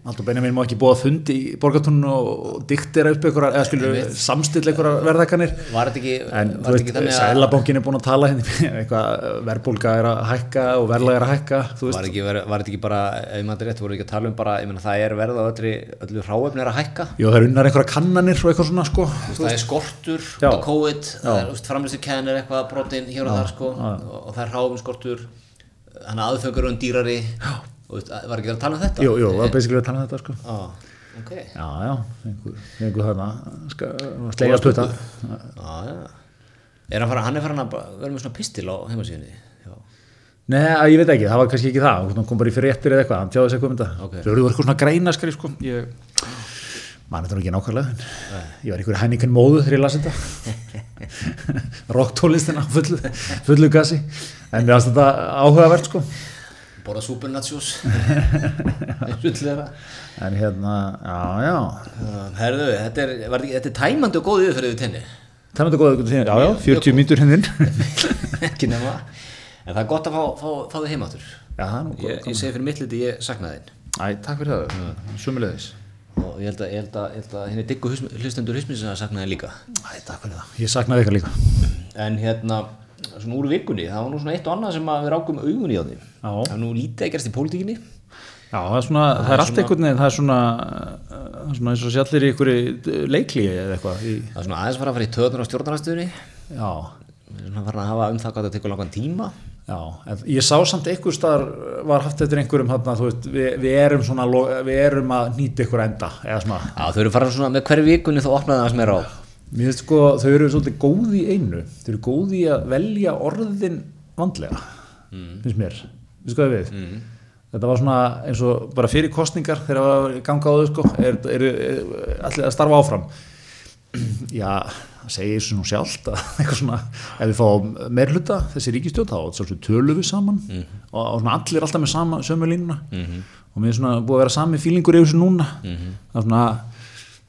Speaker 2: Haldur Benjamin má ekki búa fundi í borgartónun og diktera upp einhverjar, eða skilur samstill einhverjar verðakanir
Speaker 1: Var þetta ekki,
Speaker 2: en
Speaker 1: var þetta
Speaker 2: þú
Speaker 1: ekki
Speaker 2: veist,
Speaker 1: þannig að
Speaker 2: sælabankin er búin að tala henni eitthvað, verðbólga er að hækka og verðlag er að hækka, þú
Speaker 1: Var
Speaker 2: veist
Speaker 1: þetta ekki, verið- var þetta ekki bara, ef maður rétt voru ekki að tala um bara, ég meina það er verð á öllu, öllu hráefni er að hækka
Speaker 2: Jó, það er unnar einhverjar kannanir og eitthvað svona, sko
Speaker 1: Þú veist, það er skortur
Speaker 2: Já.
Speaker 1: út af COVID, það er framlýstu kennir eitthvað brotin hér og þar sko og, og það er hráum skortur þannig að aðfengur um dýrari já. og þú veist, að- var ekki að tala um þetta?
Speaker 2: Jú, jú, það er basically að tala um þetta, sko
Speaker 1: Á, ok
Speaker 2: Já, já, einhver, einhver þarna ska- slegja spöta
Speaker 1: á, já. Er hann fara, hann er farin að bara vera með svona pistil á heimasíðinni Já,
Speaker 2: Nei, ég veit ekki, það var kannski ekki það hún kom bara í fyrir réttir eða eitthvað, hann tjáði sér hvað um þetta
Speaker 1: Ok.
Speaker 2: Svo eru þú eitthvað svona greinaskari, sko ég... Man, þetta er nú ekki nákvæmlega en Ég var einhverju hæningin móðu þegar ég las þetta Rocktólistina fullu, fullu gasi En mér fannst þetta áhugavert, sko
Speaker 1: borða supernatsjós Sullega
Speaker 2: En hérna, já, já
Speaker 1: um, Herðu, þetta er, var ekki, þetta er tæmandi og góð yfirferðið við tenni
Speaker 2: Það er þetta góða ykkur til þín Já, já, 40 mínútur hérna hennin
Speaker 1: ekki nema En það er gott að fá, fá, fá þig heim áttur
Speaker 2: Já, það er nú góð
Speaker 1: Ég, ég segi fyrir mitt liti, ég saknaði þinn
Speaker 2: Æ, takk fyrir það, sumulegis
Speaker 1: og ég held að, ég held að, ég held að henni diggu husm- hlustendur hysmins að sakna þið líka
Speaker 2: Æ, takk fyrir það, ég saknaði eitthvað líka
Speaker 1: en hérna, svona úr vikunni það var nú svona eitt og annað sem að við rákum augun í á því
Speaker 2: Já.
Speaker 1: það var nú lítið að gerast í pólitíkinni
Speaker 2: Já, það er svona, það er allt einhvern veginn, það er svona, uh, það er svona eins og sé allir í einhverju leikli eða eitthvað. Í,
Speaker 1: það var svona aðeins fara að fara í töðunar á stjórnarastöðunni
Speaker 2: já,
Speaker 1: svona fara að hafa um það hvað það tekur langan tíma
Speaker 2: já, en ég sá samt einhver staðar eh, var haft eftir einhverjum þarna, þú veist, við, við erum svona, lo- við erum að nýta ykkur enda, eða svona.
Speaker 1: Já, þau eru farin svona með hverju vikunni þá opnaði það aðeins meira á
Speaker 2: Mér finnst sko, þau eru svolítið góð í einu, þau eru góð í að velja orðin vandlega, finnst mér, finnst hvað ég við. Mm. Þetta var svona eins og bara fyrir kostningar þegar það var ganga á þau sko, er, er, er allir að starfa áfram. Já, það segir svona sjálft að eitthvað svona, ef við fáum meir hluta þessi ríkistjóð, þá svolítið tölum við saman
Speaker 1: Mhm.
Speaker 2: og, og svona allir alltaf með sama, sömu línuna og mér er svona búið að vera sami fílingur yfir þessu núna.
Speaker 1: Mhm.
Speaker 2: Það er svona,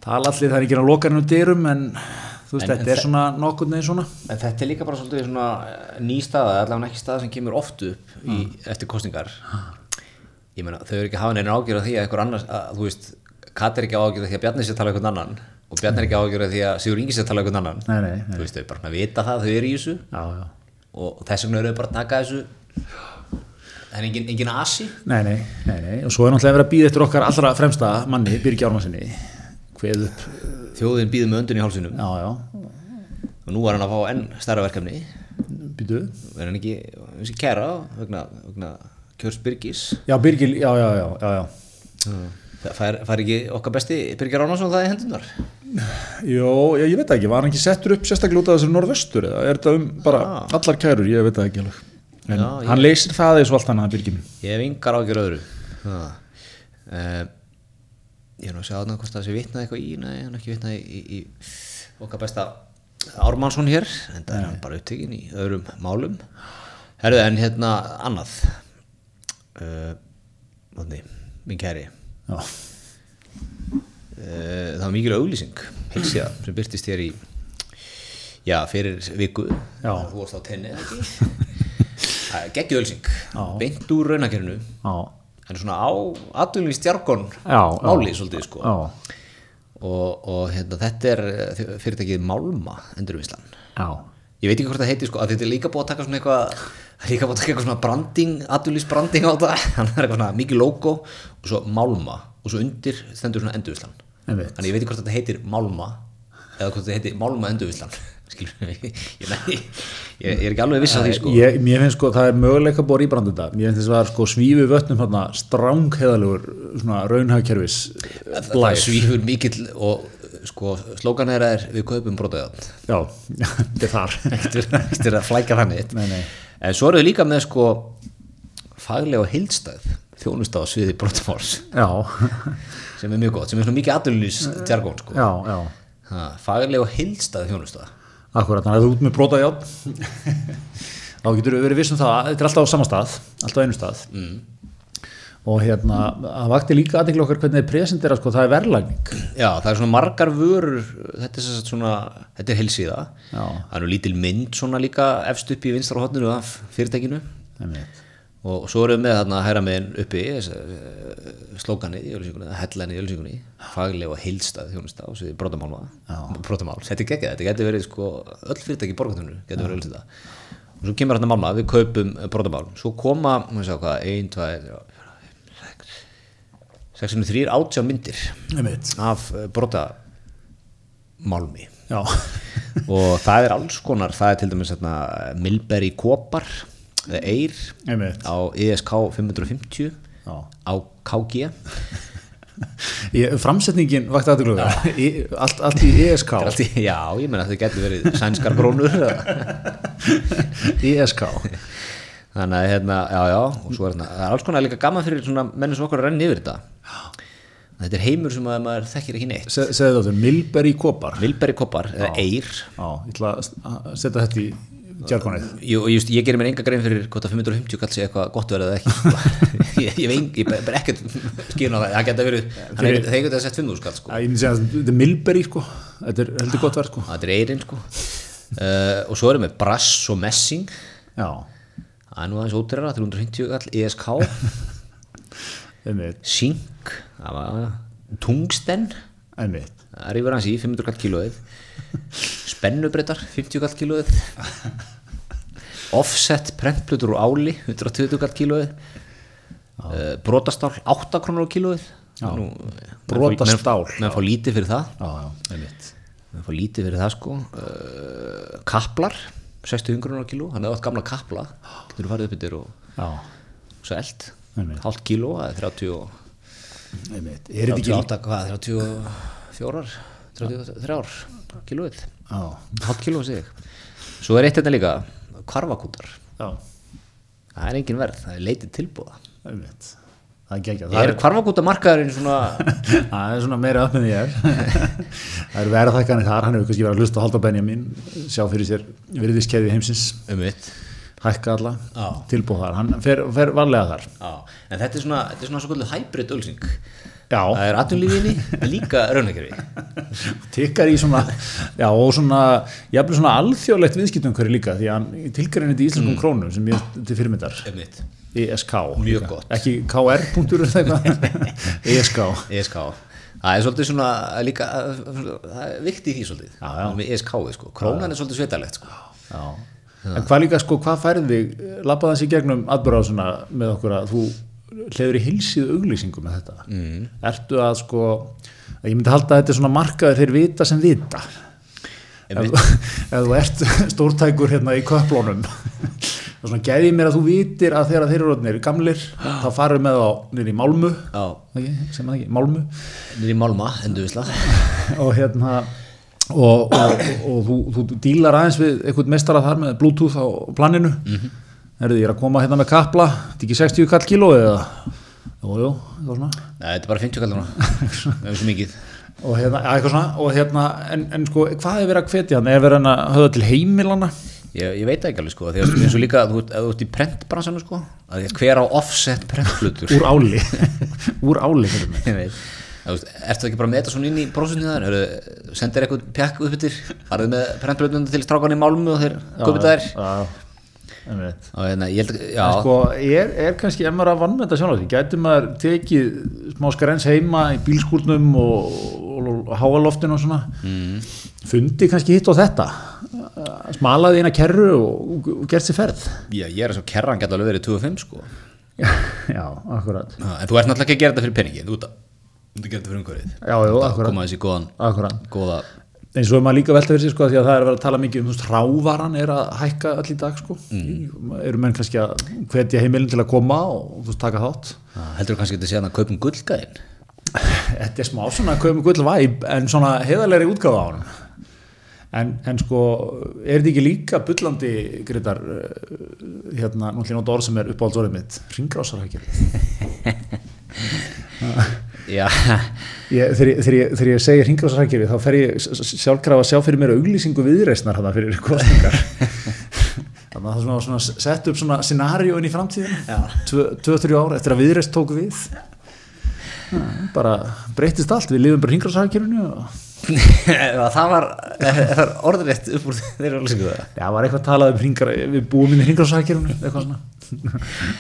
Speaker 2: tala allir, það er ekki að loka hennu dyrum en þú veist,
Speaker 1: En-
Speaker 2: þetta er svona nokkurn veginn svona.
Speaker 1: en þetta er líka bara svolítið svona eh, ný staða, allavega ekki staða sem kemur oft upp í,
Speaker 2: Ah.
Speaker 1: eftir kostningar ég meina, þau eru ekki að hafa neina ágjörð af því að einhver annars, að, þú veist Kat er ekki ágjörð af því að Bjarni sé að tala um einhvern annan og Bjarni er ekki ágjörð af því að Sigur Ingi sé að tala um einhvern annan
Speaker 2: Nei, nei, nei.
Speaker 1: þú veist, þau bara svona vita það, þau eru í þessu
Speaker 2: Já, já.
Speaker 1: og, og þess vegna eru þau bara að taka þessu það er engin, engin asi
Speaker 2: Nei, nei, nei, nei, og svo er náttúrulega verið að býða eftir okkar allra fremsta manni, Birgi Ármansinni, hveð upp,
Speaker 1: þjóðin býður með öndun í hálsinum
Speaker 2: já, já,
Speaker 1: og nú var hann að fá enn stærra verkefni
Speaker 2: býtu,
Speaker 1: er hann ekki, hann sé kæra vegna, vegna Kjörs Byrgis
Speaker 2: já, Birgi, já, já, já, já, já.
Speaker 1: það fær, fær ekki okkar besti Birgir Árnason það í hendunar
Speaker 2: Jó, ég, ég veit það ekki, var hann ekki settur upp sérstaklega út af þessari norðvestur eða er þetta um bara allar kærur, ég veit það ekki alveg. En
Speaker 1: Já, ég-
Speaker 2: hann leysir það eins og allt annað byrgjum.
Speaker 1: ég hef yngar ágjör öðru uh, ég er nú að segja þarna hvort það sé vitnað eitthvað í nei, hann er ekki vitnað í, í, í okkar besta Ármannsson hér en það er hann bara upptekinn í öðrum málum herðu en hérna annað uh, Vatni, Eh, minn kæri
Speaker 2: já,
Speaker 1: Eh, það var mikil auglýsing heilsiða sem byrtist hér í já, fyrir viku
Speaker 2: Já.
Speaker 1: þú varst á tenni eða ekki geggjum auglýsing,
Speaker 2: Já.
Speaker 1: beint úr raunakerinu
Speaker 2: já,
Speaker 1: en svona á aðvunlýst jargon
Speaker 2: já
Speaker 1: máli svolítið sko
Speaker 2: já,
Speaker 1: og, og hérna, þetta er eh, fyrirtækið Málma endurvinnslan
Speaker 2: já,
Speaker 1: ég veit ekki hvort það heiti sko að þetta er líka búið að taka svona eitthvað líka búið að taka eitthvað svona branding aðvunlýst branding á þetta þannig að það er eitthvað svona mikið logo og svo Málma og svo undir stendur svona endurvinnslan
Speaker 2: einmitt
Speaker 1: Þannig ég veit ekki hvort þetta heitir Málma eða hvort þetta heitir Málma Endurvillan skilur ég, ég, ég er ekki alveg viss að því sko
Speaker 2: Ég, mér finnst sko, það er möguleika búið í brandið þetta. Mér finnst þess að það er sko svífi vötnum hérna strángheðalegur svona raunhagkerfis
Speaker 1: það
Speaker 2: blæs.
Speaker 1: svífur mikill og sko slókan er að er við kaupum brotaðið
Speaker 2: Já, þetta er þar.
Speaker 1: ekkert er að flæka þannig eitt
Speaker 2: Nei, nei.
Speaker 1: en svo eru þau líka með sko faglega og heildstæð þjónusta á sviði brotamáls
Speaker 2: Já,
Speaker 1: sem er mjög gott, sem er svona mikið aðlunlýs tjargón sko
Speaker 2: já, já.
Speaker 1: ha, faglega og heildstæð þjónusta
Speaker 2: Akkurat, þannig að þú ert með brota játn. Þá getur við verið vissum það, að þetta er alltaf á sama stað, alltaf á einu stað. Mm. Og hérna, það vakti líka aðeins okkar hvernig þið presentera, sko, það er verðlagning.
Speaker 1: Já, það er svona margar vörur, þetta er sem sagt svona, þetta er heilsíða,
Speaker 2: Já.
Speaker 1: það er nú lítil mynd svona líka efst upp í vinstra hotninu af fyrirtækinu
Speaker 2: Einmitt.
Speaker 1: og svo erum við með þarna hæra megin uppi slókanið í ölsingunni, hellanið í ölsingunni, fagleg og heilstað þjónusta og svo brotamál, brotamál, þetta er geggjað, þetta getur verið sko, öll fyrirtæki í borgartuninu getur verið ölsinda og svo kemur þarna málma, við kaupum eh, brotamál, svo koma, maður sjá hvað, ein, tvær, sex, sex, þrýr, átjá myndir
Speaker 2: Einmitt.
Speaker 1: af eh, brota málmi
Speaker 2: Já,
Speaker 1: og það er alls konar það er til dæmis hérna, Milberry Kopar eða Eir
Speaker 2: einmitt.
Speaker 1: á E ESK 550
Speaker 2: Já.
Speaker 1: á KG
Speaker 2: Ég, framsetningin vakti aðeins okkar, allt, allt í E ESK.
Speaker 1: Það er allt í, já, ég meina þetta getur verið sænskar brónur eða-
Speaker 2: ESK
Speaker 1: þannig að hérna, já, já og svo er hérna, það er alls konar líka gaman fyrir svona mennum sem okkur að renna yfir þetta þetta er heimur sem að maður þekkir ekki neitt
Speaker 2: Se, segðu þetta, Milberry Kopar
Speaker 1: Milberry Kopar eh, eða Eir
Speaker 2: já, ég ætla að s- að setja þetta í jargonið
Speaker 1: Jú, og just, ég gerir mér enga grein fyrir hvort að 550 kallt sé eitthvað gott verið eða ekki ég, ég veit ég bara ekkert skýrna það, það geta verið hann er- þeir geta sett 500 kall sko
Speaker 2: Æ, ég myndi segja að þetta er Milberry sko þetta er heldur gott verð sko
Speaker 1: það er eirinn sko uh, og svo erum við brass og messing
Speaker 2: já,
Speaker 1: það er nú aðeins ótrera, 350 kall E ESK,
Speaker 2: einmitt,
Speaker 1: Sink það var- tungsten
Speaker 2: einmitt
Speaker 1: það rýfur hans í 500 kall kílóið spennubrettar 50 kall kílóið offset prentplutur úr áli 120 kall kílóið uh, brotastál 8 krónur á kílóið Nú,
Speaker 2: Brotastál.
Speaker 1: menn, menn fá lítið fyrir það
Speaker 2: já, já, einmitt
Speaker 1: menn fá lítið fyrir það sko uh, kaplar 60 krónur á kíló hann hefði átt gamla kapla getur þú farið upp yfir og
Speaker 2: já,
Speaker 1: og selt
Speaker 2: Einmitt.
Speaker 1: hálft kíló það er 30 og
Speaker 2: einmitt, er þetta ekki
Speaker 1: 38 hvað 34 33 kílóið
Speaker 2: já,
Speaker 1: hálf kíló sig svo er eitt hérna líka karvakútar
Speaker 2: já,
Speaker 1: það er engin verð, það er leitið tilbúða
Speaker 2: einmitt það er geggjað, það
Speaker 1: er
Speaker 2: er,
Speaker 1: karvakútamarkaðurinn svona
Speaker 2: það er svona meira upp með því er það eru verið þakkanir þar, hann hefur kannski verið að hlusta á halda Benjamin, sjá fyrir sér virðiskeði heimsins,
Speaker 1: um mitt
Speaker 2: hækka alla
Speaker 1: Já.
Speaker 2: tilbúð þar, hann fer, fer varlega þar
Speaker 1: en þetta er svona, þetta er svona svolítið hybrid ölsing
Speaker 2: já,
Speaker 1: það er atvinnlífinni en líka raunakjörfi
Speaker 2: tikkar í svona já, og svona, jafnvel svona alþjóðlegt viðskiptum hverju líka, því að hann tilgræni þetta
Speaker 1: Mm.
Speaker 2: í íslenskum krónum sem ég til fyrirmyndar
Speaker 1: um mitt
Speaker 2: ESK,
Speaker 1: Mjög
Speaker 2: líka.
Speaker 1: gott.
Speaker 2: ekki KR punktur eða eitthvað, E ESK
Speaker 1: ESK E það er svolítið svona líka það er vikt í því svolítið
Speaker 2: Já, já.
Speaker 1: með ESK -ið, sko. krónan er svolítið svetalegt sko.
Speaker 2: já, en hvað líka sko hvað færið þig, labbaði hans í gegnum atbyrðásuna með okkur að þú hleyður í hilsið auglýsingu með þetta mm. ertu að sko að ég myndi halda að þetta er svona markaður þeir vita sem vita ef
Speaker 1: Einmitt.
Speaker 2: ef þú ert stórtækur hérna í köplónum og svona gæði mér að þú vitir að þegar þeir eru orðnir gamlir þá farum með þá nýri í Málmu
Speaker 1: já,
Speaker 2: ekki, sem það ekki, Málmu
Speaker 1: nýri málma endurvisla
Speaker 2: og hérna og, og, og þú, þú dílar aðeins við einhvern mestara þar með bluetooth á planinu mm ég er að koma hérna með kapla þetta er ekki 60 kall kíló eða jú, jú, eitthvað svona
Speaker 1: Nei, þetta er bara 50 kallar núna það er svo mikið
Speaker 2: og hérna, ja, eitthvað svona og hérna, en, en sko, hvað er verið að hvetja hann, er verið hann að höfða til heimilana
Speaker 1: Ég, ég veit það ekki alveg sko, því að eins og líka að þú, ert- ef þú ert í prentbransanum sko, að því að hver á offset prentflutur
Speaker 2: úr áli úr áli fyrir mig
Speaker 1: Ég veit. Þú veist, Ertu ekki bara með þetta svona inn í brósunni þar? Heru, sendir eitthvað pjakk upp yfir, farðu með prentblöndunum til strákan í málmu og þeir komið þær.
Speaker 2: þær
Speaker 1: Og hérna, ég held, já,
Speaker 2: En sko, er, er kannski ef maður að vannmeta sjálf því, gæti maður tekið smá skrens heima í bílskúrnum og, og, og háaloftinu og svona
Speaker 1: Mhm.
Speaker 2: fundi kannski hitt og þetta Eh, smalaði eina kerru og, og gert sér ferð
Speaker 1: já, ég er að svo kerran geta alveg verið 25 sko.
Speaker 2: já, akkurat
Speaker 1: Já, En þú ert náttúrulega ekki að gera þetta fyrir peningi, þú ert að, þú ert að gera þetta fyrir umhverfið.
Speaker 2: já, jú,
Speaker 1: Að
Speaker 2: akkurat,
Speaker 1: koma þessi góðan,
Speaker 2: akkurat
Speaker 1: góða,
Speaker 2: eins og er maður líka velta fyrir sér sko því að það er að vera að tala mikið um þú veist, rávaran er að hækka allir dag sko mm. eru menn kannski að hvetja heimilin til að koma og þú veist, taka þátt
Speaker 1: heldur þú kannski að þetta sé hann að kaupum gullgæðin?
Speaker 2: Þetta er smá svona köfum gull væp en svona heiðalegri útgáfa á hann en, en sko er þetta ekki líka bullandi Gretar eh, hérna, nú ætlum ég að nota orð sem er uppáhaldsorðið mitt ringrásarhækjur
Speaker 1: Já,
Speaker 2: ég, þegar, ég- þegar, ég- þegar ég segi ringrásarhækjur þá fer ég s- s- sjálfkrafa að sjá fyrir mér auglýsingu viðreisnar hann fyrir kostningar þannig að það er svona, svona sett upp svona scenaríun í framtíðin 2-3 ár eftir að viðreist tók við Já, bara breytist allt við lifum bara ringrásarhækjurinu og
Speaker 1: það var, það var orðrétt upp úr þeirra alveg það.
Speaker 2: Já, var eitthvað talað um hringar, við búum inn í hringarsakirunum, eitthvað svona.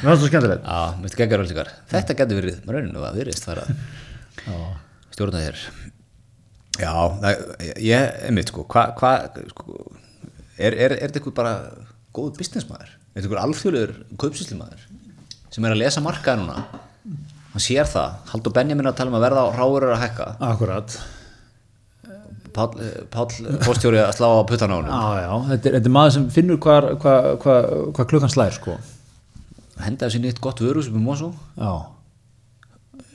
Speaker 2: Mér fannst það skemmtilegt.
Speaker 1: Já, mitt geggar alveg Þetta getur verið, maður rauninu að virðist fara að
Speaker 2: Já.
Speaker 1: stjórna þér. Já, það, ég, einmitt sko, hvað, hva, sko, er, er, er þetta eitthvað bara góð businessmaður? Er þetta eitthvað alþjóðlegur kaupsýslimaður sem er að lesa markaði núna? Hann sér það, Haldur Benjamin er að tala um að verða á ráurur að hækka.
Speaker 2: Akkurat.
Speaker 1: Páll, eh, Páll Póstjóri að slá á puttan á hann.
Speaker 2: Já, já, þetta er, þetta er maður sem finnur hvað hva, hva, hva klukkan slær, sko.
Speaker 1: Henda þessi nýtt gott vöru sem er mósó,
Speaker 2: Já,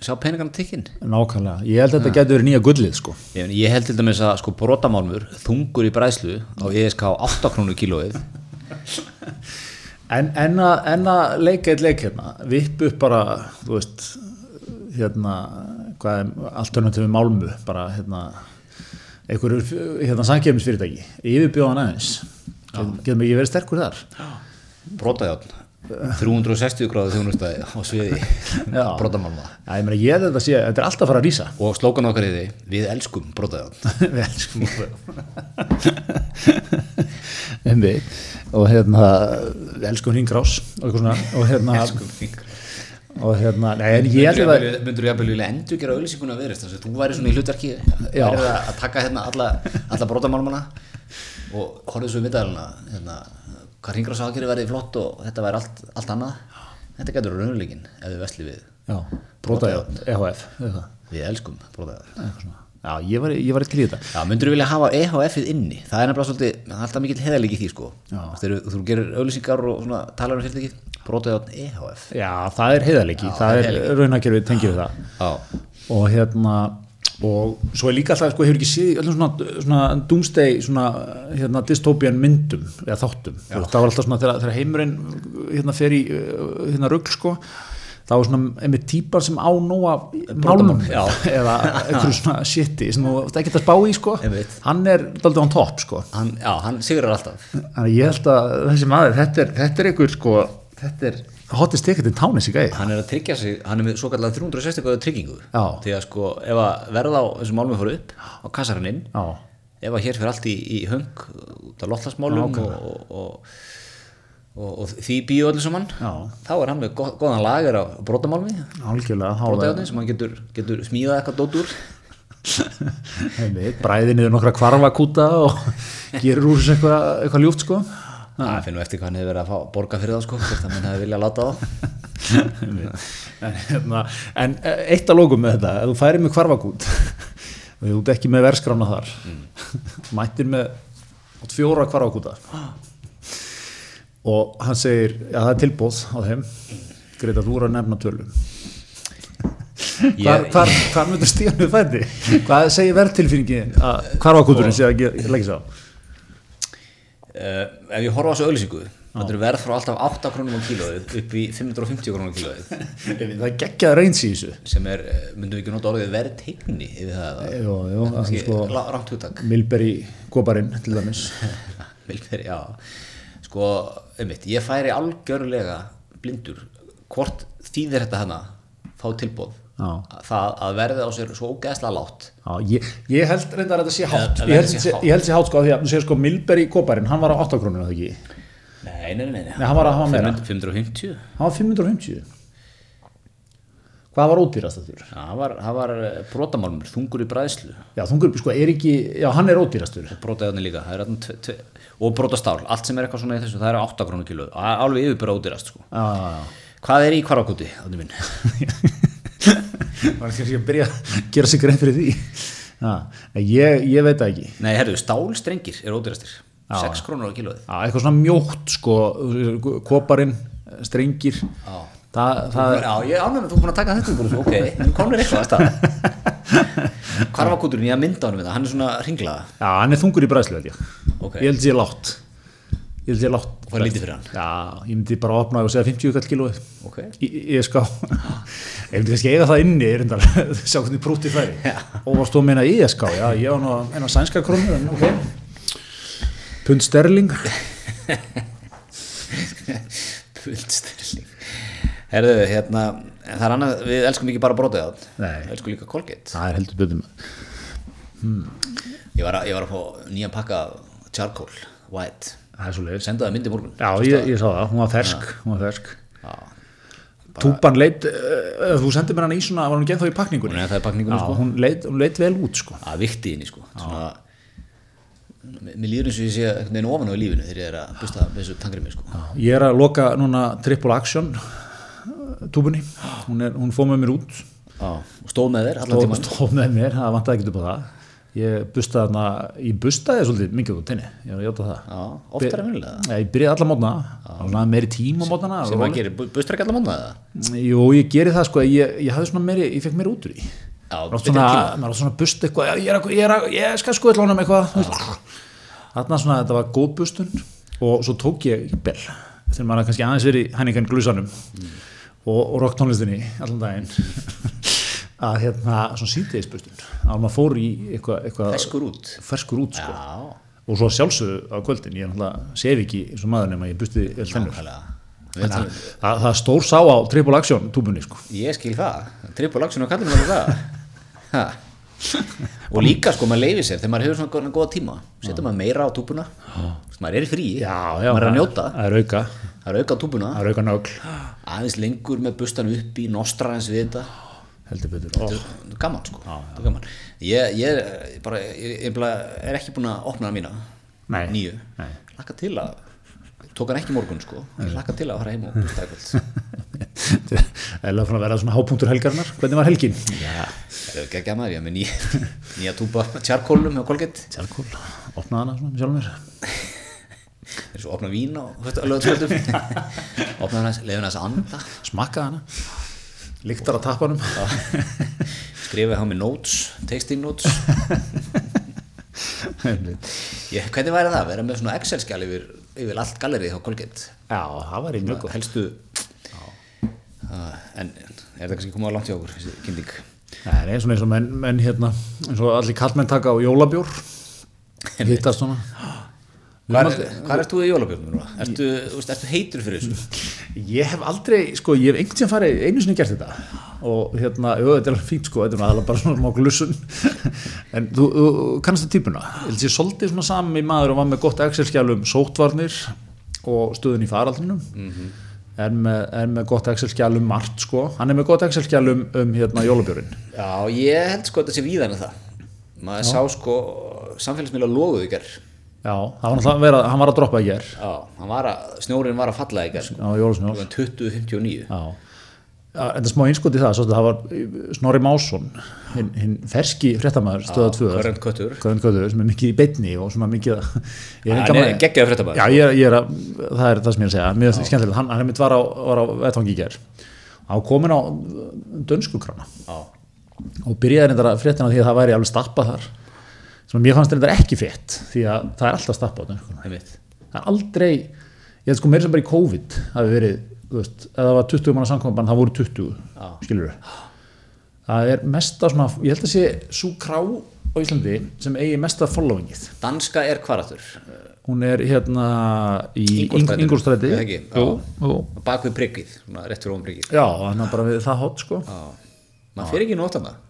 Speaker 1: sjá peningana tikkinn.
Speaker 2: nákvæmlega. Ég held að þetta getur verið nýja gullið, sko.
Speaker 1: Ég, meina, ég held til dæmis að sko brotamálmur, þungur í bræðslu á E ESK 8 krónu kílóið
Speaker 2: En, en, að, en að leika eitt leik hérna, vipp upp bara, þú veist, hérna, hvað er alternatífi málmu, bara hérna, einhverjur hérna, samkefnisfyrirtæki, yfirbjóðan aðeins. Getum getum ekki verið sterkur þar.
Speaker 1: brotajárn 360 gráðu þjónustæði á sviði
Speaker 2: Já.
Speaker 1: brotamálma
Speaker 2: Já, ég meina, ég held að þetta sé, þetta er alltaf að fara að rýsa.
Speaker 1: og slókan okkar í því, við elskum brotajárn
Speaker 2: við elskum Embi og hérna við elskum hringrás og eitthvað svona og hérna og hérna, nei en ég held að
Speaker 1: Myndur þú jafnvel vilja endur gera auðlýsinguna verið þess að þú væri svona í hlutverki
Speaker 2: Já.
Speaker 1: verið að að taka hérna alla, alla brotamálmana og horfðu svo í middæluna hérna, hvað ringra sákir verið flott og þetta væri allt, allt annað þetta getur raunleikinn ef við vesli við
Speaker 2: já, brotajárn, EHF eitthvað,
Speaker 1: við elskum brotajárn
Speaker 2: eitthvað svona já, ég var, ég var til í þetta
Speaker 1: Já, myndur þú vilja hafa EHF-ið inni? Það er nefnilega svolítið, það er alltaf mikill heðalík í því sko.
Speaker 2: Já.
Speaker 1: Þegar þú- þú gerir auðlýsingar og svona, talar um fyrirtæki, brotaði átn EHF.
Speaker 2: já, það er heiðarleiki, það er raunakerfið tengið við það
Speaker 1: Já.
Speaker 2: og hérna og svo er líka alltaf, sko, hefur ekki séð í öllum svona, svona doomsday svona, hérna, dystopian myndum eða þáttum, Þú veist, það var alltaf svona þegar, þegar heimurinn hérna fer í uh, hérna rugl, sko, þá er svona einmitt típar sem á nóa málum
Speaker 1: já.
Speaker 2: eða einhverju svona shiti sem þú ert ekkert að spá í, sko
Speaker 1: Einmitt.
Speaker 2: hann er daldið án topp, sko
Speaker 1: Hann, já, hann sigrar alltaf.
Speaker 2: þannig að ég held að þessi maður, þetta er, þetta er einhver, sko, þetta er hottist ekkert í tánis í gæði
Speaker 1: Hann er að tryggja sig, hann er með svo kallega 360 gráðu tryggingu.
Speaker 2: Já.
Speaker 1: Því að sko, ef að verða á þessum málum fór upp, á kassar hann inn,
Speaker 2: Já,
Speaker 1: ef að hér fyrir allt í, í höng, út af lottlasmálum og, og, og, og, og því bíu öllu saman,
Speaker 2: Já.
Speaker 1: þá er hann með go- góðan lager á brotamálmi,
Speaker 2: algjörlega þá er-
Speaker 1: brotaði sem hann getur, getur smíðað eitthvað dót úr.
Speaker 2: Einmitt, bræði niður nokkra kvarfakúta og gerur úr þessu eitthvað, eitthvað ljúft sko
Speaker 1: Það finnum Ah, eftir hvað hann hefur verið að fá borga fyrir það sko, hvort að menn hefði viljað láta það.
Speaker 2: en, hérna, en eitt að lókum með þetta ef þú færir með kvarfakút og þú ert ekki með verskrána þar mættir með átt fjóra kvarfakúta og hann segir já það er tilbóð á þeim greit að þú voru að nefna tölum hvar,
Speaker 1: Ég-
Speaker 2: hvar, hvar myndur stíðanum fætti hvað segir verðtilfinningin að kvarfakúturinn sé að ge- leggja sá
Speaker 1: Uh, ef ég horfa á þessu auðlýsingu, þetta er verð frá alltaf 8 krónum á kílóið upp í 550 krónum á kílóið,
Speaker 2: það er geggjað reyns í þessu
Speaker 1: sem er, eh, myndum við ekki nota orðið verðteigni yfir það, það
Speaker 2: Jó, jó, það er
Speaker 1: er
Speaker 2: sko
Speaker 1: sko... rámt hugtak,
Speaker 2: Milberry koparinn til dæmis
Speaker 1: vilferi, já. sko, einmitt, ég færi algjörlega blindur hvort þýðir þetta hana fá tilbóð
Speaker 2: Já.
Speaker 1: það að verðið á sér svo ógeðslega látt
Speaker 2: Já, ég, ég held reyndar að þetta sé hátt
Speaker 1: að
Speaker 2: ég held
Speaker 1: þetta sé
Speaker 2: sé-
Speaker 1: hátt.
Speaker 2: ég held sé hátt sko að því að þú sér sko Milberg í kóparinn, hann var á 8 krónur eða ekki
Speaker 1: Nei, nei, nei, nei,
Speaker 2: Nei, hann var að hafa meira.
Speaker 1: 500 550 Já,
Speaker 2: hann var 550 hvað var ódýrast þetta þurr?
Speaker 1: það var, það var brotamálmur, þungur í bræðslu
Speaker 2: Já, þungur sko er ekki, já hann er ódýrastur
Speaker 1: brotaðarnir líka, það er þarna tve- tve- og brotastál, allt sem er eitthvað svona í þessu það er 8 krónu kíló, alveg yfirbyrra ódýrast sko.
Speaker 2: Já, já, já
Speaker 1: hvað er í hvarfakoti, þannig minn
Speaker 2: var kannski að byrja að gera sig grein fyrir því já, en ég, ég veit það ekki
Speaker 1: nei, herru, stálstrengir er ódýrastir
Speaker 2: Já.
Speaker 1: 6 krónur á kílóið
Speaker 2: já, eitthvað svona mjótt sko kóparinn, strengir
Speaker 1: Já.
Speaker 2: það, það
Speaker 1: Já, ég ánægum að þú er búin að taka þetta upp úr þessu, ok, nú komur eitthvað að stað. Hvarfakoturinn, ég að mynda honum þetta, hann er svona ringlaða.
Speaker 2: já, hann er þungur í bræðslu held ég
Speaker 1: Ok.
Speaker 2: ég held sér látt ég held sér látt
Speaker 1: Og fær lítið fyrir hann.
Speaker 2: já, ég myndi bara opna og segja 50 kall kílóið
Speaker 1: Ok.
Speaker 2: Í- í- ég ská ég myndi kannski eiga það inni ég reyndar, sjá hvernig prútið færi og varst þú að meina í ég ská já, ég var nú að meina sænska krónur en ok pund sterling
Speaker 1: Pullstilling. Herðu, hérna, en það er annað, við elskum ekki bara brotið átt.
Speaker 2: Nei.
Speaker 1: Við elskum líka Colgate.
Speaker 2: það er heldur betur maður.
Speaker 1: Ég var, að, ég var að fá nýjan pakka af charcoal, white.
Speaker 2: það er svo leiðis
Speaker 1: Sendaði myndi morgun.
Speaker 2: já, ég, ég sá það, hún var fersk, hún var fersk.
Speaker 1: Já.
Speaker 2: túpan leit uh, þú sendir mér hann í svona, var hún genn þá í pakningunni
Speaker 1: Hún er það í pakningunni,
Speaker 2: já,
Speaker 1: sko.
Speaker 2: hún leit, hún leit vel út sko
Speaker 1: Að vikti inni, sko. Svona, mér mér líður eins og ég sé einhvern veginn ofan á í lífinu þegar ég er að busta þessu tangrið sko.
Speaker 2: Ég er að loka núna Triple Action túbunni, hún, er, hún fóð með mér út
Speaker 1: Já. Og stóð með þér allan
Speaker 2: og
Speaker 1: tímann.
Speaker 2: stóð með mér, það vantaði ekkert upp á það ég bustaði þarna, ég bustaði svolítið mikið út henni, ég var að játa það
Speaker 1: Já, oftar en venjulega.
Speaker 2: Já, ég byrjaði alla mótna, alveg meiri tíma mótna
Speaker 1: sem maður gerir, bustur ekki allar mánuða það?
Speaker 2: Jú, ég geri það sko, ég, ég hafði svona meiri, ég fekk meiri út úr því
Speaker 1: Já,
Speaker 2: Maður átt
Speaker 1: betra
Speaker 2: svona,
Speaker 1: kíla.
Speaker 2: maður átt svona að busta eitthvað, já, ég, er að, ég, er að, ég skal sko eitthvað honum eitthvað þú veist. Þarna svona, þetta var góð bustun og svo tók ég bell þegar maður hafði kannski aðeins verið henningan glúsanum og, og rock tónlistinni allan daginn að hérna, svona síðdeis bustun að maður fór í eitthvað eitthva,
Speaker 1: Feskur út.
Speaker 2: ferskur út sko.
Speaker 1: Já,
Speaker 2: og svo að sjálfsögðu á kvöldin ég náttúrulega sef ekki eins og maður nema ég busti vel tennur
Speaker 1: nákvæmlega. Við
Speaker 2: það,
Speaker 1: tala-
Speaker 2: það, það er stór sá á triple action túbunni sko.
Speaker 1: Ég skil það. Trippul action og kallir maður það. Ha. og líka sko maður leifir sér þegar maður hefur svona góðan góða tíma setur maður meira á túbuna Þess, maður er í frí,
Speaker 2: já, já,
Speaker 1: maður er að njóta
Speaker 2: það er auka,
Speaker 1: það er auka á túbuna
Speaker 2: það er auka nögl
Speaker 1: aðeins lengur með bustan upp í nostra eins við þetta
Speaker 2: heldur betur oh.
Speaker 1: Þetta er gaman sko Þetta er gaman. Ég, ég, er bara, ég, ég bara er ekki búin að opna það mína
Speaker 2: Nei.
Speaker 1: nýju
Speaker 2: Nei.
Speaker 1: laka til að tók hann ekki í morgun sko ég laka til að fara heim og busta eitthvað
Speaker 2: Það er alveg að vera svona hápunktur helgarnar Hvernig var helgin?
Speaker 1: Já, það er ekki að maður, ég er með nýja, nýja túpa tjarkólum með kolgett,
Speaker 2: Tjálkól, opnaði hana svona sjálf mér
Speaker 1: þeir svo opna vín og lögðu tvöldum, opna hann aðeins, leiðin aðeins að anda,
Speaker 2: Smakkaði hana Lyktar á tappanum
Speaker 1: skrifaði hann með notes, texting notes,
Speaker 2: Já,
Speaker 1: ég, hvernig væri það, að vera með svona Excel-skjal yfir, yfir allt gallerið hjá kolgett,
Speaker 2: það var í mjög góð
Speaker 1: helstu, uh, en er það kannski komað langt hjá okkur, þessi kynning,
Speaker 2: Það er svona eins og menn, menn hérna eins og allir kallmenn taka á jólabjór Hittast svona
Speaker 1: hvað er, hvar ert þú í jólabjörnum núna, ertu, þú veist, ertu heitur fyrir þessu,
Speaker 2: Ég hef aldrei, sko, ég hef einhvern tíðan farið einu sinni gert þetta og hérna, jú, þetta er alveg fínt sko, þetta er aðalega bara svona má glussun en þú, þú kannast það típuna ég held ég svolítið svona sami maður og var með gott Excel-skjál um sóttvarnir og stöðun í faraldrinum er, með, er með gott Excel-skjál um margt sko, hann er með gott Excel-skjál um, um hérna jólabjörinn
Speaker 1: já, ég held sko að þetta sé víðan en það, maður sá sko samfélagsmiðla loguðu í gerð,
Speaker 2: já, það var náttúrulega verið, að- hann var að droppa í ger
Speaker 1: Já, hann var að, snjórin var að falla í gerð, sko.
Speaker 2: á jólasnjól
Speaker 1: Klukkan 20.59.
Speaker 2: Já. Já, En það smá einskot í það, svo að það var Snorri Másson, hinn, hinn ferski fréttamaður stöða tvö.
Speaker 1: current cutter.
Speaker 2: Current Cutter, sem er mikið í beinni og svona mikið að... Ég
Speaker 1: Hann
Speaker 2: gaman-
Speaker 1: er geggjaður fréttamaður,
Speaker 2: Já, ég er, ég er að, það er það sem ég er að segja, mér er skemmtilegt, hann, hann er mitt var á, var á vettvangi í ger. Hann var komin á dönskukrana
Speaker 1: Já.
Speaker 2: og byrjaði reyndar að fréttina því að það væri alveg stappað þar. Sem mér fannst reyndar ekki frétt, því að það er alltaf stappað á dönskukrana
Speaker 1: Einmitt.
Speaker 2: það er aldrei ég held sko meira sem bara í COVID hafi verið, þú veist, ef það var 20 manna samkomabann, það voru 20, skilur það er mesta svona, ég held að sé svo krá á Íslandi sem eigi mesta followingið
Speaker 1: Danska er kvarattur
Speaker 2: hún er hérna í
Speaker 1: Ingólfsstræti.
Speaker 2: Ingolstræti
Speaker 1: Er það ekki? Já.
Speaker 2: já,
Speaker 1: bak við priggið, svona rétt fyrir ofan priggið
Speaker 2: þannig að bara við það hot sko
Speaker 1: Já. maður fyrir ekki nótt annað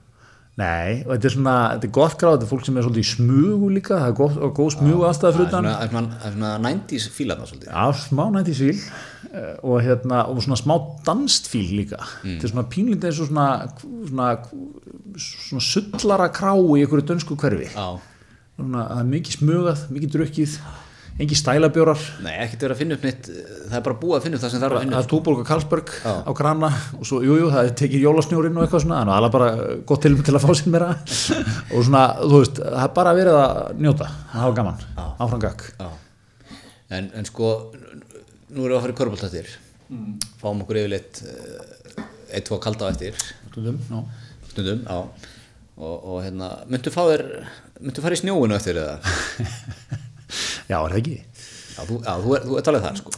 Speaker 2: Nei, og þetta er svona, þetta er gott gráð, þetta er fólk sem er svolítið í smugu líka, það er gott, og góð smugu aðstæða
Speaker 1: það er
Speaker 2: fyrir utan.
Speaker 1: svona, það er svona, það er svona 90s fílarna svolítið
Speaker 2: Já, smá nætti fíl eh, og hérna, og svona smá danst fíl líka.
Speaker 1: Mm.
Speaker 2: Þetta er svona pínlítið eins og svona, svona, svona sullara krá í einhverju dönsku hverfi.
Speaker 1: Já.
Speaker 2: Svona, það er mikið smugað, mikið drukkið, engi stælabjórar,
Speaker 1: nei, ekkert verið að finna upp neitt það er bara búið að finna upp það sem þarf að
Speaker 2: það
Speaker 1: finna
Speaker 2: er Túborg og Karlsberg á krana og svo, jú, jú, það er tekið jólasnjórinn og eitthvað svona, þannig að það er bara gott til, til að fá sér meira og svona, þú veist, það er bara verið að njóta, það var gaman, áfram gakk.
Speaker 1: upp Já. en, en sko nú erum við að fara í körbóltattir fáum okkur yfirleitt eh, eitt, tvo kalda á eftir
Speaker 2: Stundum, já.
Speaker 1: stundum, já og, og hérna, myndu fá þér myndu fara í snjóinu eftir eða
Speaker 2: Já, er það ekki?
Speaker 1: já, þú, já, þú, er, þú ert alveg þar sko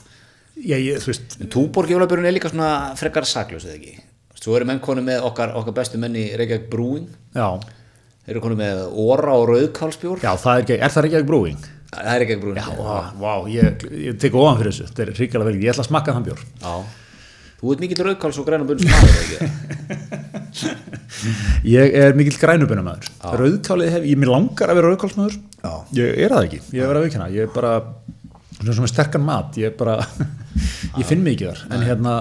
Speaker 2: Já, ég, þú veist,
Speaker 1: En Túborg jólabjörn er líka svona frekar saklaus eða ekki. Svo eru menn konu með okkar, okkar bestu menn í Reykjavík Brewing.
Speaker 2: já,
Speaker 1: Þeir eru konu með Óra og Rauðkálsbjór.
Speaker 2: já, það er ekki, er það ekki ekki brúing?
Speaker 1: Það er Reykjavík Brewing.
Speaker 2: Vá, vá, ég, ég tek ofan fyrir þessu, þetta er hrikalega vel, ég ætla að smakka þann bjór.
Speaker 1: Já. Þú ert mikill Rauðkáls og grænabunns maður, eða ekki?
Speaker 2: Ég er mikill grænubunumæður, rauðkálið hef, ég mér langar að vera rauðkálsmæður,
Speaker 1: Já.
Speaker 2: ég er það ekki, ég er að vera vikina, ég er bara, svona sem er sterkan mat, ég er bara, ég finn mig ekki þar, en hérna,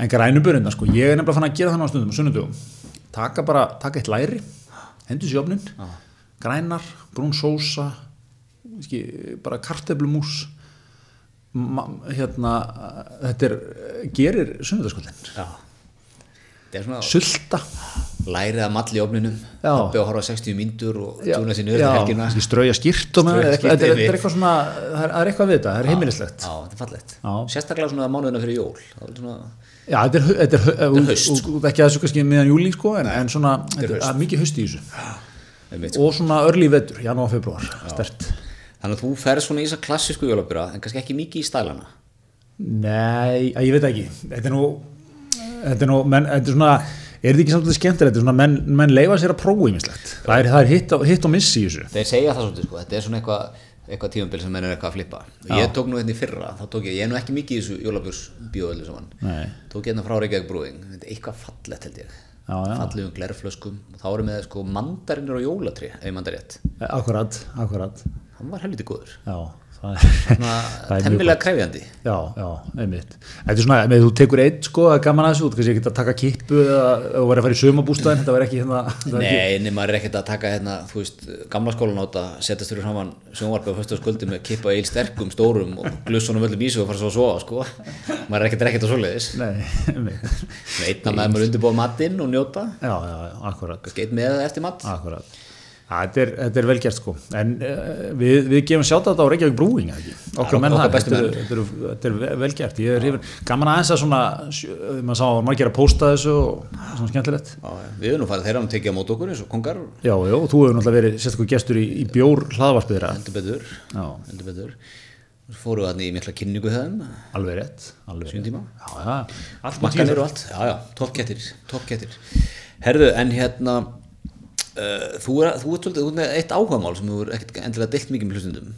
Speaker 2: en grænubunina, sko, ég er nefnilega fann að gera þannig á stundum, á sunnudugum, taka bara, taka eitt læri, hendur sér opnin, grænar, brún sósa, ekki, bara karteflumús, ma- hérna, þetta er, gerir sunnudagskollin,
Speaker 1: Já. Það er svona
Speaker 2: sulta,
Speaker 1: lærið að malli í ofninum.
Speaker 2: Já.
Speaker 1: Pabbi að horfa á 60 myndur og
Speaker 2: Já,
Speaker 1: tjúna sinni
Speaker 2: já,
Speaker 1: öðru helgina.
Speaker 2: kannski strauja skýrtuna
Speaker 1: Strauja
Speaker 2: eða eitthvað,
Speaker 1: skyrtu
Speaker 2: þetta er- þetta er
Speaker 1: yfir.
Speaker 2: eitthvað svona það er, það er eitthvað við þetta, það er heimilislegt
Speaker 1: Já, þetta er fallegt.
Speaker 2: Já.
Speaker 1: Sérstaklega svona mánuðina fyrir jól. Það er svona...
Speaker 2: já, þetta er, hau- þetta er, hau- og-
Speaker 1: haust, sko.
Speaker 2: og- og ekki að þessu kannski miðan júli sko, en, en svona, þetta er
Speaker 1: haust.
Speaker 2: það er mikið haust í þessu
Speaker 1: einmitt, sko.
Speaker 2: og svona örli vetur, janúar, februar stert,
Speaker 1: Þannig að þú ferð svona í þessa klassísku jólabjöra en kannski ekki mikið í stælana.
Speaker 2: nei, að, ég veit ekki þetta er nú, þetta er nú menn, þetta er svona, er þetta ekki samtidig skemmtilegt þetta er svona, menn, menn leifa sér að prófa ímislegt það er, það er hitt, og, hitt og missi í þessu
Speaker 1: þeir segja það svolítið sko, þetta er svona eitthvað eitthvað tímambil sem menn er eitthvað að flippa og ég tók nú hérna í fyrra, þá tók ég, ég er nú ekki mikið í þessu jólabjörsbíó öllu saman
Speaker 2: Nei.
Speaker 1: tók hérna frá Reykjavík brúing, þetta er eitthvað fallett held ég
Speaker 2: Já, já.
Speaker 1: fallegum glerflöskum og þá eru með sko mandarinur á jólatri ef ég mandar rétt,
Speaker 2: akkurat, akkurat
Speaker 1: hann var helviti góður
Speaker 2: já, það er, það
Speaker 1: svona
Speaker 2: er mjög
Speaker 1: temmilega krefjandi
Speaker 2: Já, já, einmitt. Þetta er svona, ef þú tekur eitt sko, það er gaman að þessu, þú kannski ekki að taka kippu eða eða þú verður að fara í sömabústæðin, þetta verður ekki hérna, þetta verður ekki,
Speaker 1: Nei, nema er ekkert að taka hérna, þú veist, gamla skólan áta, setjast fyrir saman sjónvarpið á föstaskvöldi með kippa eil sterkum, stórum og glussunum öllum ísu og fara svo að sofa, sko. Maður er ekkert að rekja þetta svoleiðis.
Speaker 2: nei, einmitt.
Speaker 1: Svona einn að maður maður undirbúa matinn og njóta
Speaker 2: Já, já, já, akkurat,
Speaker 1: kannski einn með eða eftir mat
Speaker 2: akkurat. Ja, þetta er, þetta er velgjert sko, en uh, við, við gefum sjátt á Reykjavík Brúing, ekki? Okkar
Speaker 1: okkar-
Speaker 2: menn
Speaker 1: okkar
Speaker 2: það,
Speaker 1: bestu
Speaker 2: þetta er, þetta, er, þetta er ve- velgjert, ég er hrifin, gaman aðeins að svona, sjö- maður sá margir að pósta þessu og svona skemmtilegt.
Speaker 1: Já, já. við erum nú farið þeirra um að tekið á mót okkur eins og kongar
Speaker 2: Já, já, og þú hefur náttúrulega verið sérstakur gestur í, í bjór hlaðvarpið þeirra,
Speaker 1: heldur betur,
Speaker 2: Já.
Speaker 1: heldur betur. Svo fórum við þannig í mikla kynningu þeim
Speaker 2: alveg rétt, alveg
Speaker 1: Sjöum
Speaker 2: rétt.
Speaker 1: tíma.
Speaker 2: Já, já, allt
Speaker 1: makkanir og allt, já já, toppkettir toppkettir, herðu en hérna uh, þú, er, þú ert svolítið, þú ert með eitt áhugamál sem þú er ekkert endilega deilt mikið með hlustundum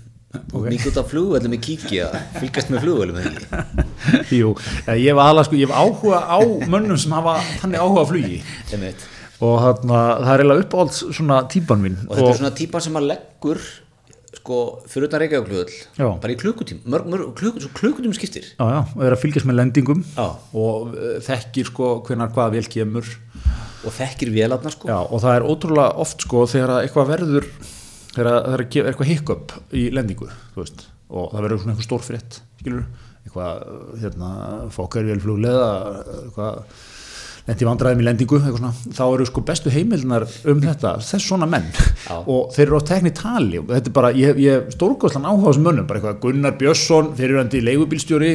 Speaker 1: okay. mikið út af flugvöldum í kíki að fylgjast með flugvöldum ekki
Speaker 2: Jú, eh, ég hef aðalega sko, ég hef áhuga á mönnum sem hafa þannig áhuga á flugi
Speaker 1: Einmitt.
Speaker 2: og þarna, það er eiginlega uppáhalds svona típan mín
Speaker 1: og þetta er svona típa sem maður leggur sko, fyrir utan
Speaker 2: Já.
Speaker 1: reykjaugluðl bara í klukkutím, mörg, mörg, klukkutím, klukkutím skiptir
Speaker 2: já, já, og er að fylgjast með lendingum
Speaker 1: Já.
Speaker 2: og eh, þekkir sko hvenar hvað vel kemur já,
Speaker 1: og þekkir vélarnar sko
Speaker 2: og það er ótrúlega oft sko þegar að eitthvað verður þegar að- þegar að ge- er eitthvað hiccup í lendingu þú veist, og það verður svona eitthvað stór frétt skilur, eitthvað eh, hérna, fokkar vel flugleða eh, eitthvað lendi vandræðum í lendingu eitthvað svona, þá eru sko bestu heimildinar um þetta þess svona menn
Speaker 1: Já.
Speaker 2: og þeir eru oft tekni tali og þetta er bara, ég, ég stórkostlan áhuga á þessum mönnum, bara eitthvað Gunnar Björnsson fyrirandi leigubílstjóri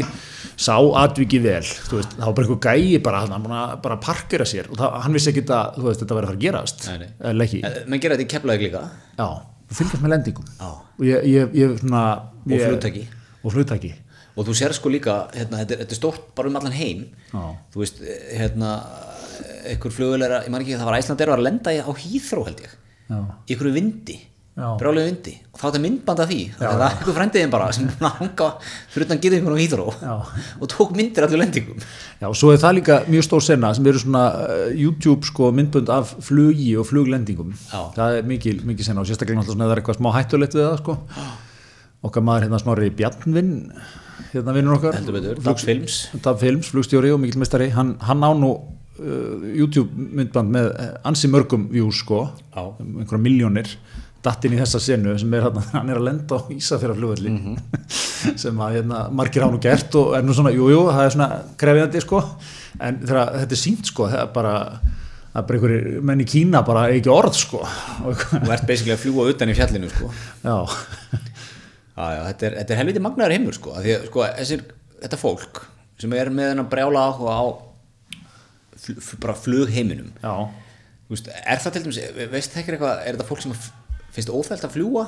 Speaker 2: sá atviki vel, þú veist, þá var bara eitthvað gæi bara, hann bara, bara parkera sér og það, hann vissi ekki að, þú veist, þetta verið að fara að gerast
Speaker 1: Nei, nei.
Speaker 2: eða ekki,
Speaker 1: Eh, menn gera þetta í keflaðið líka
Speaker 2: já, fylgjast með lendingum
Speaker 1: Já.
Speaker 2: og ég, ég, ég svona
Speaker 1: og
Speaker 2: ég,
Speaker 1: flugtæki
Speaker 2: og flugtæki,
Speaker 1: og þú sér sko líka, hérna, þetta, er- þetta er stórt bara um allan heim
Speaker 2: Já.
Speaker 1: þú veist, eh, hérna einhver flugulera, ég man ekki það var æslandeir var að lenda í- á Hýþró held ég
Speaker 2: Já.
Speaker 1: í einhverju vindi
Speaker 2: Já.
Speaker 1: brjálegu vindi og þá þetta myndband af því það var einhver frendiðin bara sem búin að hanga fyrir utan gyrðingun á hýtró
Speaker 2: Já.
Speaker 1: og tók myndir allir lendingum
Speaker 2: Já, og svo er það líka mjög stór sena sem eru svona uh, YouTube sko myndbönd af flugi og fluglendingum
Speaker 1: Já.
Speaker 2: það er mikil, mikil sena og sérstaklega náttúrulega svona ef það er eitthvað smá hættulegt við það sko okkar maður hérna snorri Bjarnvinn hérna vinnur okkar
Speaker 1: heldur betur,
Speaker 2: Flug-
Speaker 1: Dags Films
Speaker 2: Tab Films, flugstjóri og mikil mestari hann, hann á nú uh, YouTube myndband með eh, ansi mörgum views sko,
Speaker 1: Já.
Speaker 2: um einhverja miljónir datt inn í þessa senu sem er hann, hann er að lenda á Ísafjara flugvelli sem að hérna, margir á nú gert og er nú svona, jújú, jú, það er svona krefjandi sko, en þegar þetta er sínt sko, það er bara það er bara einhverjir menn í Kína bara eiga ekki orð sko og eitthvað,
Speaker 1: og ert basically að fljúa utan í fjallinu sko.
Speaker 2: já
Speaker 1: já, já, þetta, er, þetta er helviti magnaður heimur sko. af því, að, sko, þessir, þetta fólk sem er með hennar brjála áhuga á fl, fl, bara flugheiminum
Speaker 2: já,
Speaker 1: Þú veist, er það til dæmis, veist það ekki eitthvað er þetta fólk sem f- finnst óþælt að fljúa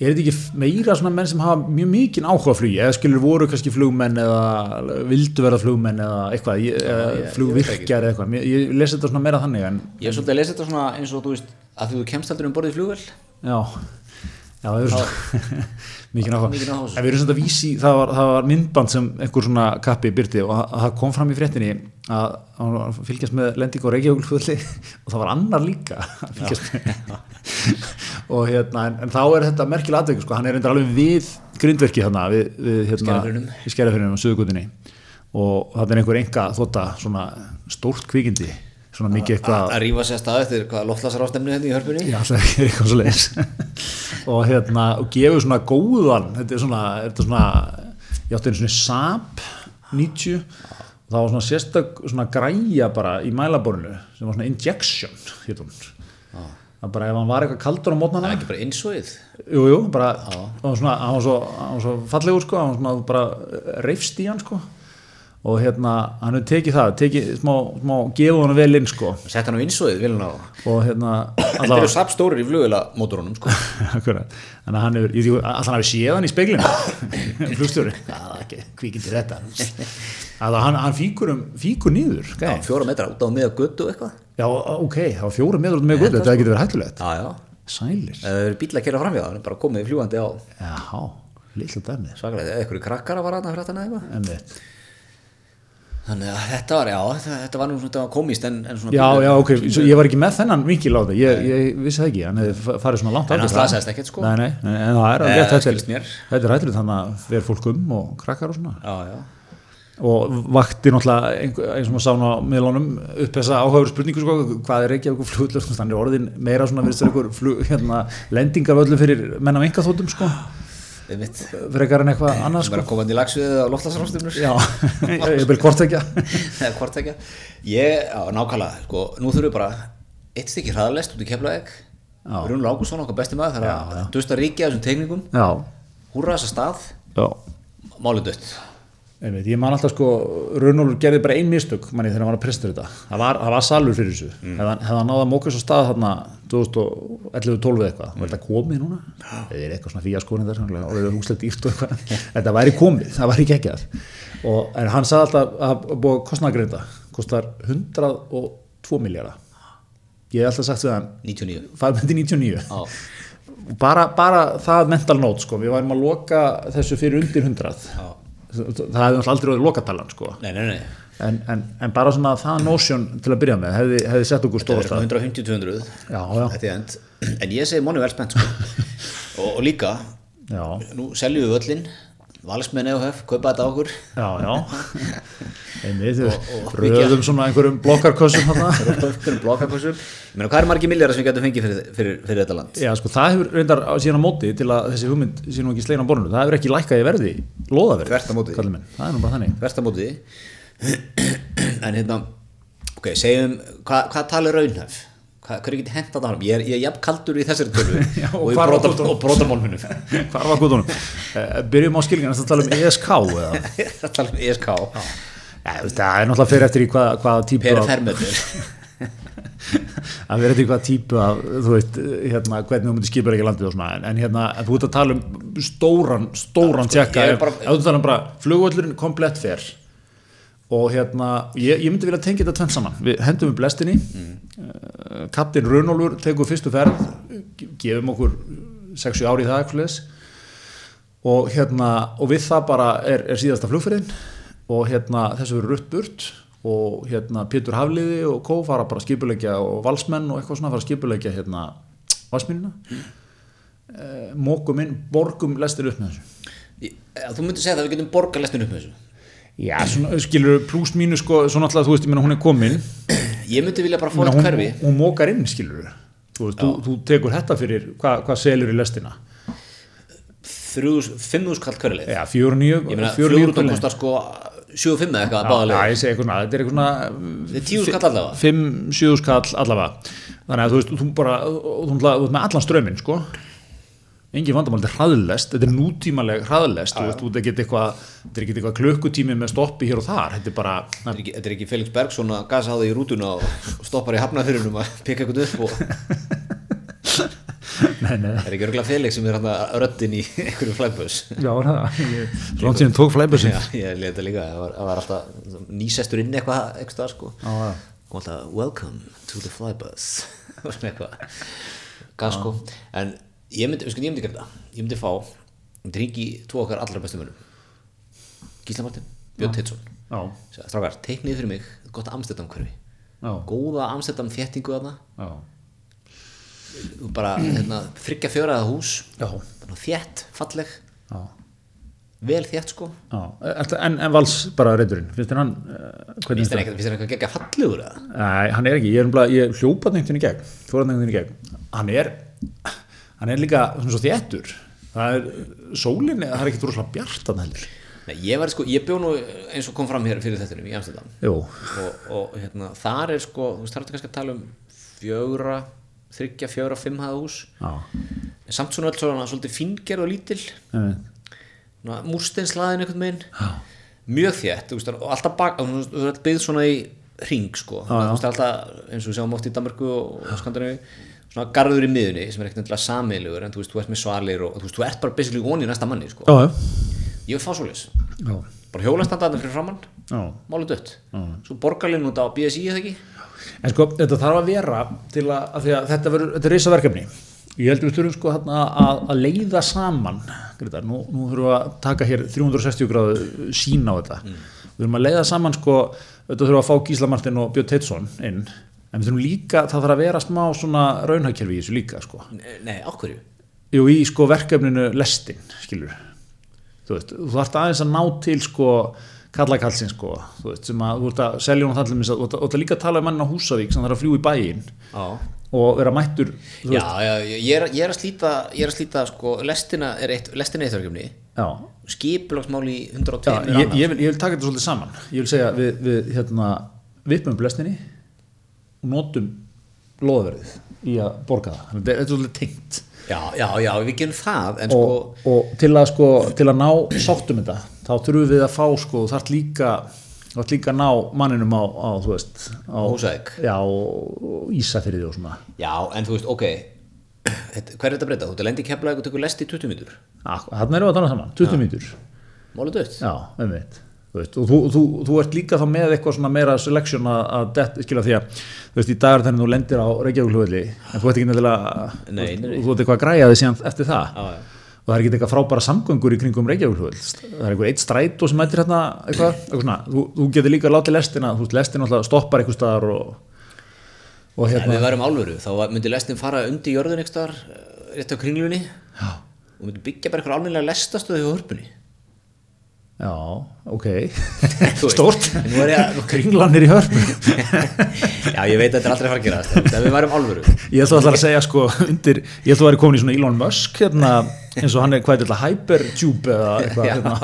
Speaker 2: er þetta ekki meira svona menn sem hafa mjög mikinn áhuga á flugi eða skilur voru kannski flugmenn eða vildu vera flugmenn eða eitthvað ég, eða flugvirkjar eða eitthvað, ég, ég lesi þetta svona meira þannig en
Speaker 1: ég hef svolítið að lesa þetta svona eins og þú veist að þú kemst aldrei um borðið flugvel
Speaker 2: Já, já það er svona mikið náttúrulega.
Speaker 1: Mikinn áhuga á þessu.
Speaker 2: En við erum svona að vísi, það var, það var myndband sem einhver svona kappi byrti og það- það kom fram í fréttinni að hann var að fylgjast með lending og reykjavíkulfulli og það var annar líka að fylgjast með. og hérna, en, en þá er þetta merkilega atveikur, sko, hann er reyndar alveg við grindverki þarna, við, við hérna,
Speaker 1: Skerjafirðinum.
Speaker 2: í skerjafyrunum og suðugutinni og það er einhver enga þóta svona stórt kvikindi, svona mikið eitthvað
Speaker 1: að rífa sér staðið eftir hvað loftlasarástefni henni í hörpunni
Speaker 2: Já, það er eitthvað svo leiðis og hérna, og gefur svona góðan þetta er svona, þetta er svona ég átti einu svona sap 90 og það var svona sérstak svona græja bara í mælaborinu sem var svona injection hérna það bara ef hann var eitthvað kaldur á
Speaker 1: það
Speaker 2: mótnana
Speaker 1: er ekki bara innsóið
Speaker 2: jú, jú, bara hann var svona, hann var svo, hann var svo fallegur sko, hann var svona þú bara reyfst í hann sko og hérna, hann hefur tekið það tekið smá, smá gefið hann vel inn sko
Speaker 1: sett hann á innsóið, vil hann á
Speaker 2: og hérna
Speaker 1: þetta eru sapstórir í flugvela mótorunum sko.
Speaker 2: Akkurat. Þannig að hann hefur, ég þýgur, allan hafi séð hann í speilinu, flugstjóri. Það er ekki kvíkindir þetta. Að hann, hann fíkur, um, fíkur niður.
Speaker 1: já,
Speaker 2: gæinn.
Speaker 1: fjóra metra út á miða götu og eitthvað
Speaker 2: Já, ok, það var fjóra meður út með gull, þetta getur verið hættulegt.
Speaker 1: já, já,
Speaker 2: Sælir.
Speaker 1: ef það eru bíl að kera framhjá hann er bara komið fljúandi á
Speaker 2: Já, litla dæmið.
Speaker 1: svakalega, eða einhverju krakkar að vara hann að frættan eða eitthvað
Speaker 2: En við,
Speaker 1: þannig að þetta var, já, þetta, þetta var nú svona komist en, en svona
Speaker 2: já,
Speaker 1: pínu-
Speaker 2: já, ok, svo ég var ekki með þennan vinkil á þetta, ég, ég vissi það ekki, hann hefði farið svona langt
Speaker 1: En hann
Speaker 2: áfram.
Speaker 1: slasaðist ekkert, sko.
Speaker 2: Nei, nei, nei, en það er
Speaker 1: Nei,
Speaker 2: alveg
Speaker 1: það
Speaker 2: rétt, þetta
Speaker 1: skilst mér.
Speaker 2: er- þetta er hættulegt, þannig að fer fólk um og krakkar og svona.
Speaker 1: já, já
Speaker 2: og vakti náttúrulega einhver- eins og maður sá nú á miðlunum upp þessa áhauður spurningu sko, hvað er Reykjavík flugvöllur sko, þannig er orðin meira svona virðist vera einhver flug, hérna, lendingarvöllu fyrir menn af enga þóttum sko,
Speaker 1: einmitt,
Speaker 2: frekar en eitthvað annað
Speaker 1: sem
Speaker 2: sko.
Speaker 1: er að koma hann í lagsviðið á loftlasarástefnur
Speaker 2: já, ég vil hvort ekki
Speaker 1: eða hvort ekki ég, já, nákvæmlega, sko, nú þurfum við bara eitt stykki hraðalest út í Keflavík
Speaker 2: Já.
Speaker 1: Rún Lákusson, okkar besti maður
Speaker 2: Já,
Speaker 1: þar
Speaker 2: já.
Speaker 1: að dusta ríkja þessum teikningum
Speaker 2: já,
Speaker 1: húrra þessa stað,
Speaker 2: já
Speaker 1: málið dött
Speaker 2: Einmitt, ég man alltaf sko, Runolfur gerði bara ein mistök manni þegar hann var að presta þetta það var, það var salur fyrir þessu mm. hefði hann- hefði hann náða mókast á stað þarna 2011-12 eitthvað, var þetta komið núna? eða er eitthvað svona fíaskóðin þar og það er húslega dýrt og eitthvað þetta væri komið, það væri ekki ekki að og, en hann sagði alltaf að hafa búið kostnagreinda kostar 102 miljara ég hef alltaf sagt við hann
Speaker 1: 99
Speaker 2: farið með til 99
Speaker 1: Já.
Speaker 2: bara, bara það mental note sko. við værum að loka þessu fyrir undir 100
Speaker 1: Já.
Speaker 2: það hefði náttúrulega aldrei orðið lokatalan sko.
Speaker 1: Nei, nei, nei,
Speaker 2: en, en, en bara svona það notion til að byrja með hefði, hefði sett okkur
Speaker 1: það
Speaker 2: stóra
Speaker 1: er
Speaker 2: stað
Speaker 1: 150-200
Speaker 2: já, já,
Speaker 1: Þetta er end. en ég segi Móni vel spennt sko. og, og líka,
Speaker 2: já,
Speaker 1: nú seljum við öllin valsmenn eða höf, kaupa þetta á okkur
Speaker 2: já, já. einmitt, við röðum svona einhverjum blokkarkössum þarna
Speaker 1: blokkakossum, ég meina hvað er margir milljarar sem við getum fengið fyrir, fyrir, fyrir þetta land
Speaker 2: Já, sko, það hefur reyndar á- síðan á móti til að þessi hugmynd síðan ekki slegin á borðinu, það hefur ekki lækkað í verði, loðaverði,
Speaker 1: Þvert á móti.
Speaker 2: kallið minn, það er nú bara þannig.
Speaker 1: versta móti en hérna ok, segjum, hva, hvað talið raunhæf Hva- hverju getur hent að tala ég er, ég er jafn kaldur í þessari tölu
Speaker 2: Já, og
Speaker 1: og í
Speaker 2: hvar var
Speaker 1: brota-
Speaker 2: guttunum?
Speaker 1: og brotamálmunum
Speaker 2: Hvar var gutunum? Byrjum á skilgjana, það tala um ESK eða?
Speaker 1: að tala um ESK
Speaker 2: Já, þú veist, það er náttúrulega fyrir eftir í hvað, hvaða típu
Speaker 1: per
Speaker 2: af,
Speaker 1: fermetur
Speaker 2: að vera eftir í hvaða típu af, þú veist, hérna, hvernig þú myndir skipa ekki landið og svona, en, en hérna, en þú ert að tala um stóran, stóran tjekka,
Speaker 1: sko, ég er
Speaker 2: ef
Speaker 1: bara-
Speaker 2: ef þú tala um bara flugvöllurinn komplett fer og hérna, ég, ég myndi vilja tengja þetta tvenn saman, við hendum um blestinni mm. Kaptinn Runolfur tekur fyrstu ferð, ge- gefum okkur 6-7 ári í það eitthvað leis og hérna, og við það bara er, er síðasta flugferðin og hérna, þessu verður rutt burt og hérna, Pétur Hafliði og Kó fara bara að skipulegja og valsmenn og eitthvað svona fara að skipulegja hérna, valsmínina eh, mokum inn, borgum lestir upp með þessu
Speaker 1: Ég- eh, Þú myndir segja það að við getum borgað lestin upp með þessu
Speaker 2: Já, svona, skilur, pluss mínus sko, svona alltaf, þú veist, ég meina hún er komin
Speaker 1: Ég myndi vilja bara fá
Speaker 2: Meina,
Speaker 1: eitt
Speaker 2: hún,
Speaker 1: hverfi
Speaker 2: hún mókar inn, skilur þú, veist, þú, þú tekur þetta fyrir hvað hva selur í lestina
Speaker 1: þrjúðus- 5.000 kall hverfið
Speaker 2: Já, fjóru nýju
Speaker 1: Ég meina, fljórútan kostar sko 7.5 eða eitthvað
Speaker 2: Já,
Speaker 1: báðalega
Speaker 2: ég segi eitthvað, svona, þetta er eitthvað
Speaker 1: Þetta er 10.000 kall allavega.
Speaker 2: 5-7 skall allavega Þannig að þú veist, þú bara, þú, þú, þú ert með allan ströminn, sko Engin vandamál, þetta er hraðlest, þetta er nútímaleg hraðlest Þú veist, þú- þetta er ekki eitthvað, þetta er ekki eitthvað klukkutími með stoppi hér og þar Þetta er bara,
Speaker 1: Þetta er ekki- þetta er ekki Felix Bergson að gasa á þig í rútuna og stoppar í hafnafyrunum að peka eitthvað upp og það
Speaker 2: nei, nei
Speaker 1: er ekki örgulega Felix sem er hann að röddin í einhverju flæmbus
Speaker 2: Já, var það Svona tíðan tók flæbusin
Speaker 1: Já, ég leit þetta líka, það var, það var alltaf nýsestur inn eitthvað eitthvað staðar, sko
Speaker 2: Já, já.
Speaker 1: og alltaf welcome to the flybus og svona eitthvað gaf sko, en ég myndi, sko, ég myndi gera þetta, ég myndi fá ég myndi ringi tvo okkar allra bestu mönum Gísla Martin, Björn Teitsson
Speaker 2: Já,
Speaker 1: strákar, teiknið fyrir mig, gott Amsterdam hverfi
Speaker 2: já,
Speaker 1: góða Amsterdam þéttingu þarna
Speaker 2: já
Speaker 1: og bara hérna, þryggja fjóraða hús
Speaker 2: Já,
Speaker 1: bara þétt, falleg,
Speaker 2: já,
Speaker 1: vel þétt sko
Speaker 2: já. Ertu- En, en Vals bara reyndurinn, finnst þér hann eh, hvernig
Speaker 1: finnst þér eitthvað, finnst þér eitthvað geggja fallegur eða?
Speaker 2: Nei, hann er ekki, ég er umlað, ég hljópað neitt henni gegn, fórað neitt henni gegn hann er, hann er líka svona svo þéttur það er, sólin, það er ekkert rosalega bjart hann heldur
Speaker 1: Nei, ég var sko, ég bjó nú eins og kom fram hér fyrir þetta í Amsterdam
Speaker 2: Jú,
Speaker 1: og, og hérna, þar er sko, þú veist, þar ertu kannski að tala um fjögra, þryggja, fjögra, fimm hafa hús
Speaker 2: já,
Speaker 1: en samt svona öll svona svolítið fingerð og lítil
Speaker 2: einmitt.
Speaker 1: múrsteinslaðin einhvern veginn mjög þétt, þú veist, og alltaf bak þú veist, þú veist, byggð svona í ring sko,
Speaker 2: Já, já.
Speaker 1: þú veist, alltaf, eins og við sjáum oft í Danmarku og Skandinavíu, svona garður í miðunni sem er ekkert endilega samiðlegur en þú veist, þú ert með svalir og þú veist, þú ert bara basically onni næsta manni, sko,
Speaker 2: já,
Speaker 1: ég vil fá svoleiðis
Speaker 2: já,
Speaker 1: bara hjólastandarnir fyrir framann
Speaker 2: já
Speaker 1: málið dött, svo borgarlinn út á BSI eða ekki,
Speaker 2: En sko, þetta þarf að vera til að, að, því að þetta, verður, þetta er risaverkefni. Ég heldur við þurfum sko hérna að, að leiða saman, Greta, nú, nú þurfum við að taka hér 360 gráðu sín á þetta. Við þurfum að leiða saman sko, þetta þurfum við að fá Gísla Martin og Björn Teitsson inn, en við þurfum líka, það þarf að vera smá svona raunhagkerfi í þessu líka sko.
Speaker 1: Nei, nei, ákverju
Speaker 2: Jú, í sko verkefninu lestin, skilur þú veist, þú þarft aðeins að ná til sko kallakallsin sko, þú veist, sem að þú ert að selja hún þallum, þú ert að- þú ert að líka að tala um mann á Húsavík sem þarf að fljúa í bæinn
Speaker 1: Já,
Speaker 2: og vera mættur, þú
Speaker 1: já,
Speaker 2: veist,
Speaker 1: já ég, er, ég er að slíta ég er að slíta, sko, lestina er eitt lestina er eitt verkefni,
Speaker 2: já,
Speaker 1: skipulagsmál í
Speaker 2: já
Speaker 1: 102
Speaker 2: ég, ég, vil, ég vil taka þetta svolítið saman, ég vil segja við, við hérna, vippum upp lestinni og notum loðverðið í að borga það, þannig að þetta er svolítið tengt
Speaker 1: já, já, já, við gerum það en sko,
Speaker 2: og, og til að sko til að ná sáttum þetta þá þurfum við að fá sko þú þarf líka þú þarf líka að ná manninum á, á þú veist á,
Speaker 1: Húsavík.
Speaker 2: já, og Ísafirði og svona
Speaker 1: já, en þú veist, ok þetta, hver er þetta að breyta? Þú ert að lendi í keflaðið og tekur lest í 20 mínútur
Speaker 2: hann Ah, erum við að tala saman, 20 mínútur
Speaker 1: málið dött,
Speaker 2: já, einmitt Þú veist, og þú, þú, þú ert líka þá með eitthvað svona meira selection að, að dett, skilja því að þú veist, í dagar þannig þú lendir á Reykjavíkluvöldi en þú ert ekki nefnilega
Speaker 1: Nei,
Speaker 2: þú,
Speaker 1: nei.
Speaker 2: veist, þú ert eitthvað að græja því síðan eftir það
Speaker 1: Já, já.
Speaker 2: og það er ekki eitthvað frábæra samgöngur í kringum Reykjavíkluvöld það er eitthvað eitt strætó sem mætir hérna eitthvað, eitthvað svona, þú, þú getur líka látið lestina, þú veist, lestin alltaf stoppar eitthvað staðar og, og
Speaker 1: ef
Speaker 2: hérna
Speaker 1: við værum álveru, þá var- myndi lestin fara undir jörðun ekki þar, eh, rétt á kringlunni já. og myndi byggja bara eitthvað almennilega lestastöðu í hörpunni
Speaker 2: já, ok
Speaker 1: Þú veist,
Speaker 2: stórt,
Speaker 1: nú er ég að-
Speaker 2: kringlan er í hörpu
Speaker 1: Já, ég veit að þetta er aldrei að fara að gera þetta en við værum álveru
Speaker 2: Ég ætla alltaf að segja sko undir, ég ætla að vera komin í svona Elon Musk hérna, eins og hann er hvað er þetta, Hypertube eða eitthvað hérna,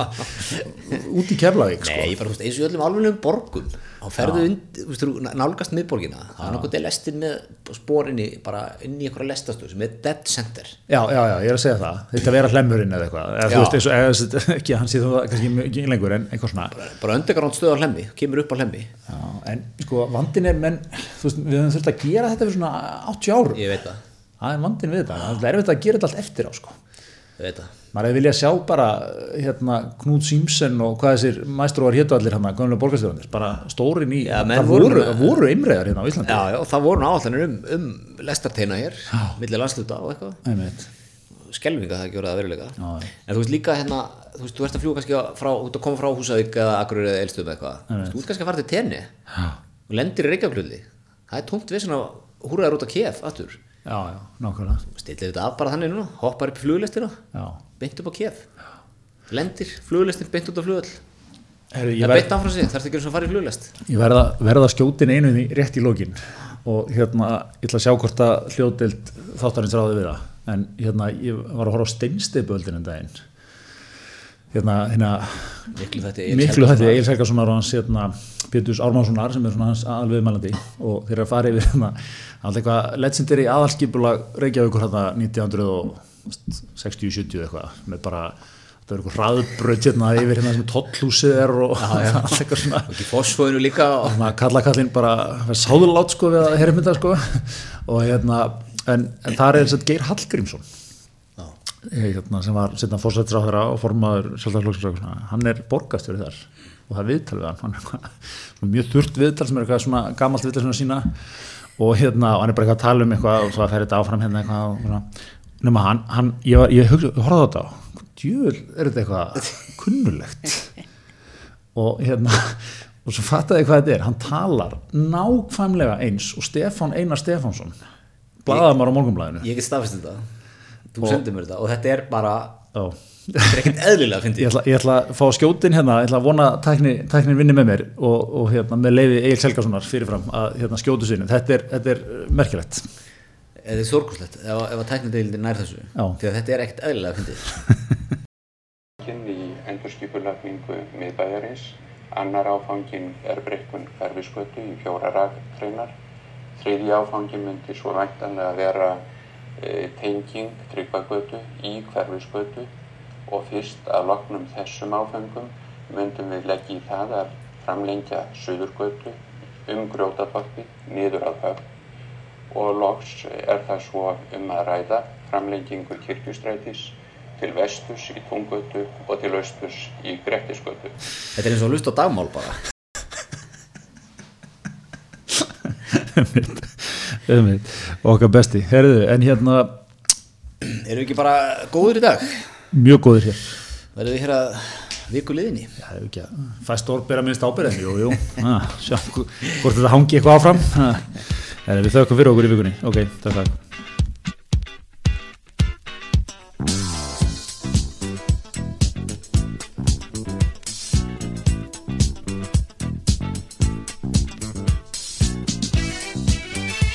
Speaker 2: út í Keflavík sko.
Speaker 1: Nei, ég bara, þú veist, eins og í öllum alvegum borgum þá ferðu und, þú veist, þú nálgast miðborgina þá er nákvæmt lestin með spórinni bara inn í einhverja lestastöð sem er dead center
Speaker 2: Já, já, já, ég er að segja það, þetta vera hlemurinn eða eitthvað, eða,
Speaker 1: Já.
Speaker 2: þú veist eins og eða, þú veist, ekki, hann sé það kannski mjög- ekki lengur en eitthvað svona
Speaker 1: bara öndegaránd stöð á hlemmi, kemur upp á hlemmi
Speaker 2: já, en sko vandin er, menn, þú veist, við höfum þurft að gera þetta fyrir svona 80 árum,
Speaker 1: ég veit það
Speaker 2: það er vandin við þetta, það er erfitt að gera þetta allt eftir á sko
Speaker 1: ég veit það
Speaker 2: maður hefði viljað sjá bara hérna, Knúð Símsen og hvað þessir mæstróar hétu allir hann, gömlega borgarstjóðanir bara stórin í,
Speaker 1: Já, menn
Speaker 2: það
Speaker 1: voru
Speaker 2: voru,
Speaker 1: með-
Speaker 2: það voru einræðar hérna á Íslandi
Speaker 1: Já, já, það voru náallanir um, um lestarteina hér, milli landsluta og eitthvað
Speaker 2: Einmitt.
Speaker 1: skelvinga það gjörði það veruleika
Speaker 2: Já, já.
Speaker 1: en þú veist líka hérna þú veist, þú ert að fljúa kannski frá, þú ert að koma frá Húsavík eða Akureyri eða Elstöðum eitthvað þú veist, þú ert kannski að fara til tenni og lendir í Reykjavíklulli það er tómt vissin að húra þér út á kef aftur,
Speaker 2: já, já, nákvæmlega
Speaker 1: stillir þetta af bara þannig núna hoppar upp í fluglistina,
Speaker 2: já.
Speaker 1: beint upp á kef lendir, fluglistin beint út á flugall
Speaker 2: Heru,
Speaker 1: það er beint áfram sig, þarfst ekki eins og að fara í fluglist
Speaker 2: Ég verða, verða skjótin einu því rétt í lókin og hérna, ég ætla að sjá hvort að hljóðdeild þáttarins ráði við það en hérna, ég var að horfa á steinsteipöldin en daginn hérna, hérna
Speaker 1: miklu þetta
Speaker 2: miklu þetta Egil Helgasonar og hans hérna, Péturs Ármánssonar sem er svona hans alvegmælandi og þeir eru að fara yfir hérna, alltaf eitthvað legendary aðalskipula Reykjavíkur hérna 1960-70 eitthvað með bara, þetta er eitthvað hraðbröð hérna yfir hérna sem tollhúsið er og alltaf eitthvað svona
Speaker 1: ekki fósfóinu líka og
Speaker 2: Þannig að kalla kallinn bara sáðulátt sko við að hermynda sko og hérna, en, en það er satt, Geir Hallgrímsson eh, hérna, sem var setna fórsættisráðara og formaður sjálfstæðarflokksins hann er borgastjóri þar og það er viðtal við hann, hann er eitthvað, svona mjög þurft viðtal sem er eitthvað svona gamalt viðtal sem er sína og hérna, og hann er bara eitthvað að tala um eitthvað og svo að fer þetta áfram hérna eitthvað og svona, nema hann, hann ég, var, ég hugsa, horfði á þetta á djöl er þetta eitthvað kunnulegt og hérna og svo fattaði ég hvað þetta er, hann talar nákvæmlega eins og Stefán Einar Stefánsson blaðamar á morgunblæðinu
Speaker 1: ég get stafist þetta þú sendir mér þetta og þetta er bara
Speaker 2: Já.
Speaker 1: þetta er ekkert eðlilega fyndið
Speaker 2: ég ætla, ég ætla að fá skjótin hérna ég ætla að vona að tækni, tæknin vinni með mér og, og hérna, með leiði Egil Selgasonar fyrirfram að hérna, skjótu sínum, þetta er, þetta er uh, merkilegt
Speaker 1: Þetta er sorgurslegt ef, ef að tæknideildin nær þessu
Speaker 2: Já.
Speaker 1: því að þetta er ekkert eðlilega að fyndið
Speaker 3: Fanginn í endurskipulagningu miðbæjarins, annar áfanginn er breikkun hverfiskötu í fjóraragreinar, þriðji áfanginn myndi svo væntanlega vera e, tenging tryggvagötu í hverfiskötu og fyrst að loknum þessum áfangum myndum við leggja í það að framlengja suðurgötu um grjótabakki niður að höfn og loks er það svo um að ræða framlengingu kirkjustrætis til vesturs í Tungötu og til austurs í Grettisgötu.
Speaker 1: Þetta er eins og lust á dagmál bara
Speaker 2: Um Einmitt. um okkar besti, herðu, en hérna
Speaker 1: Erum við ekki bara góður í dag?
Speaker 2: mjög góður hér
Speaker 1: Verðum við hér að viku liðinni?
Speaker 2: Já, ef ekki að- fæst orð bera minnst ábyrðin jú, jú, ah, sjá hvort þetta hangi eitthvað áfram ah. En við þökkum fyrir okkur í vikunni ok, takk, takk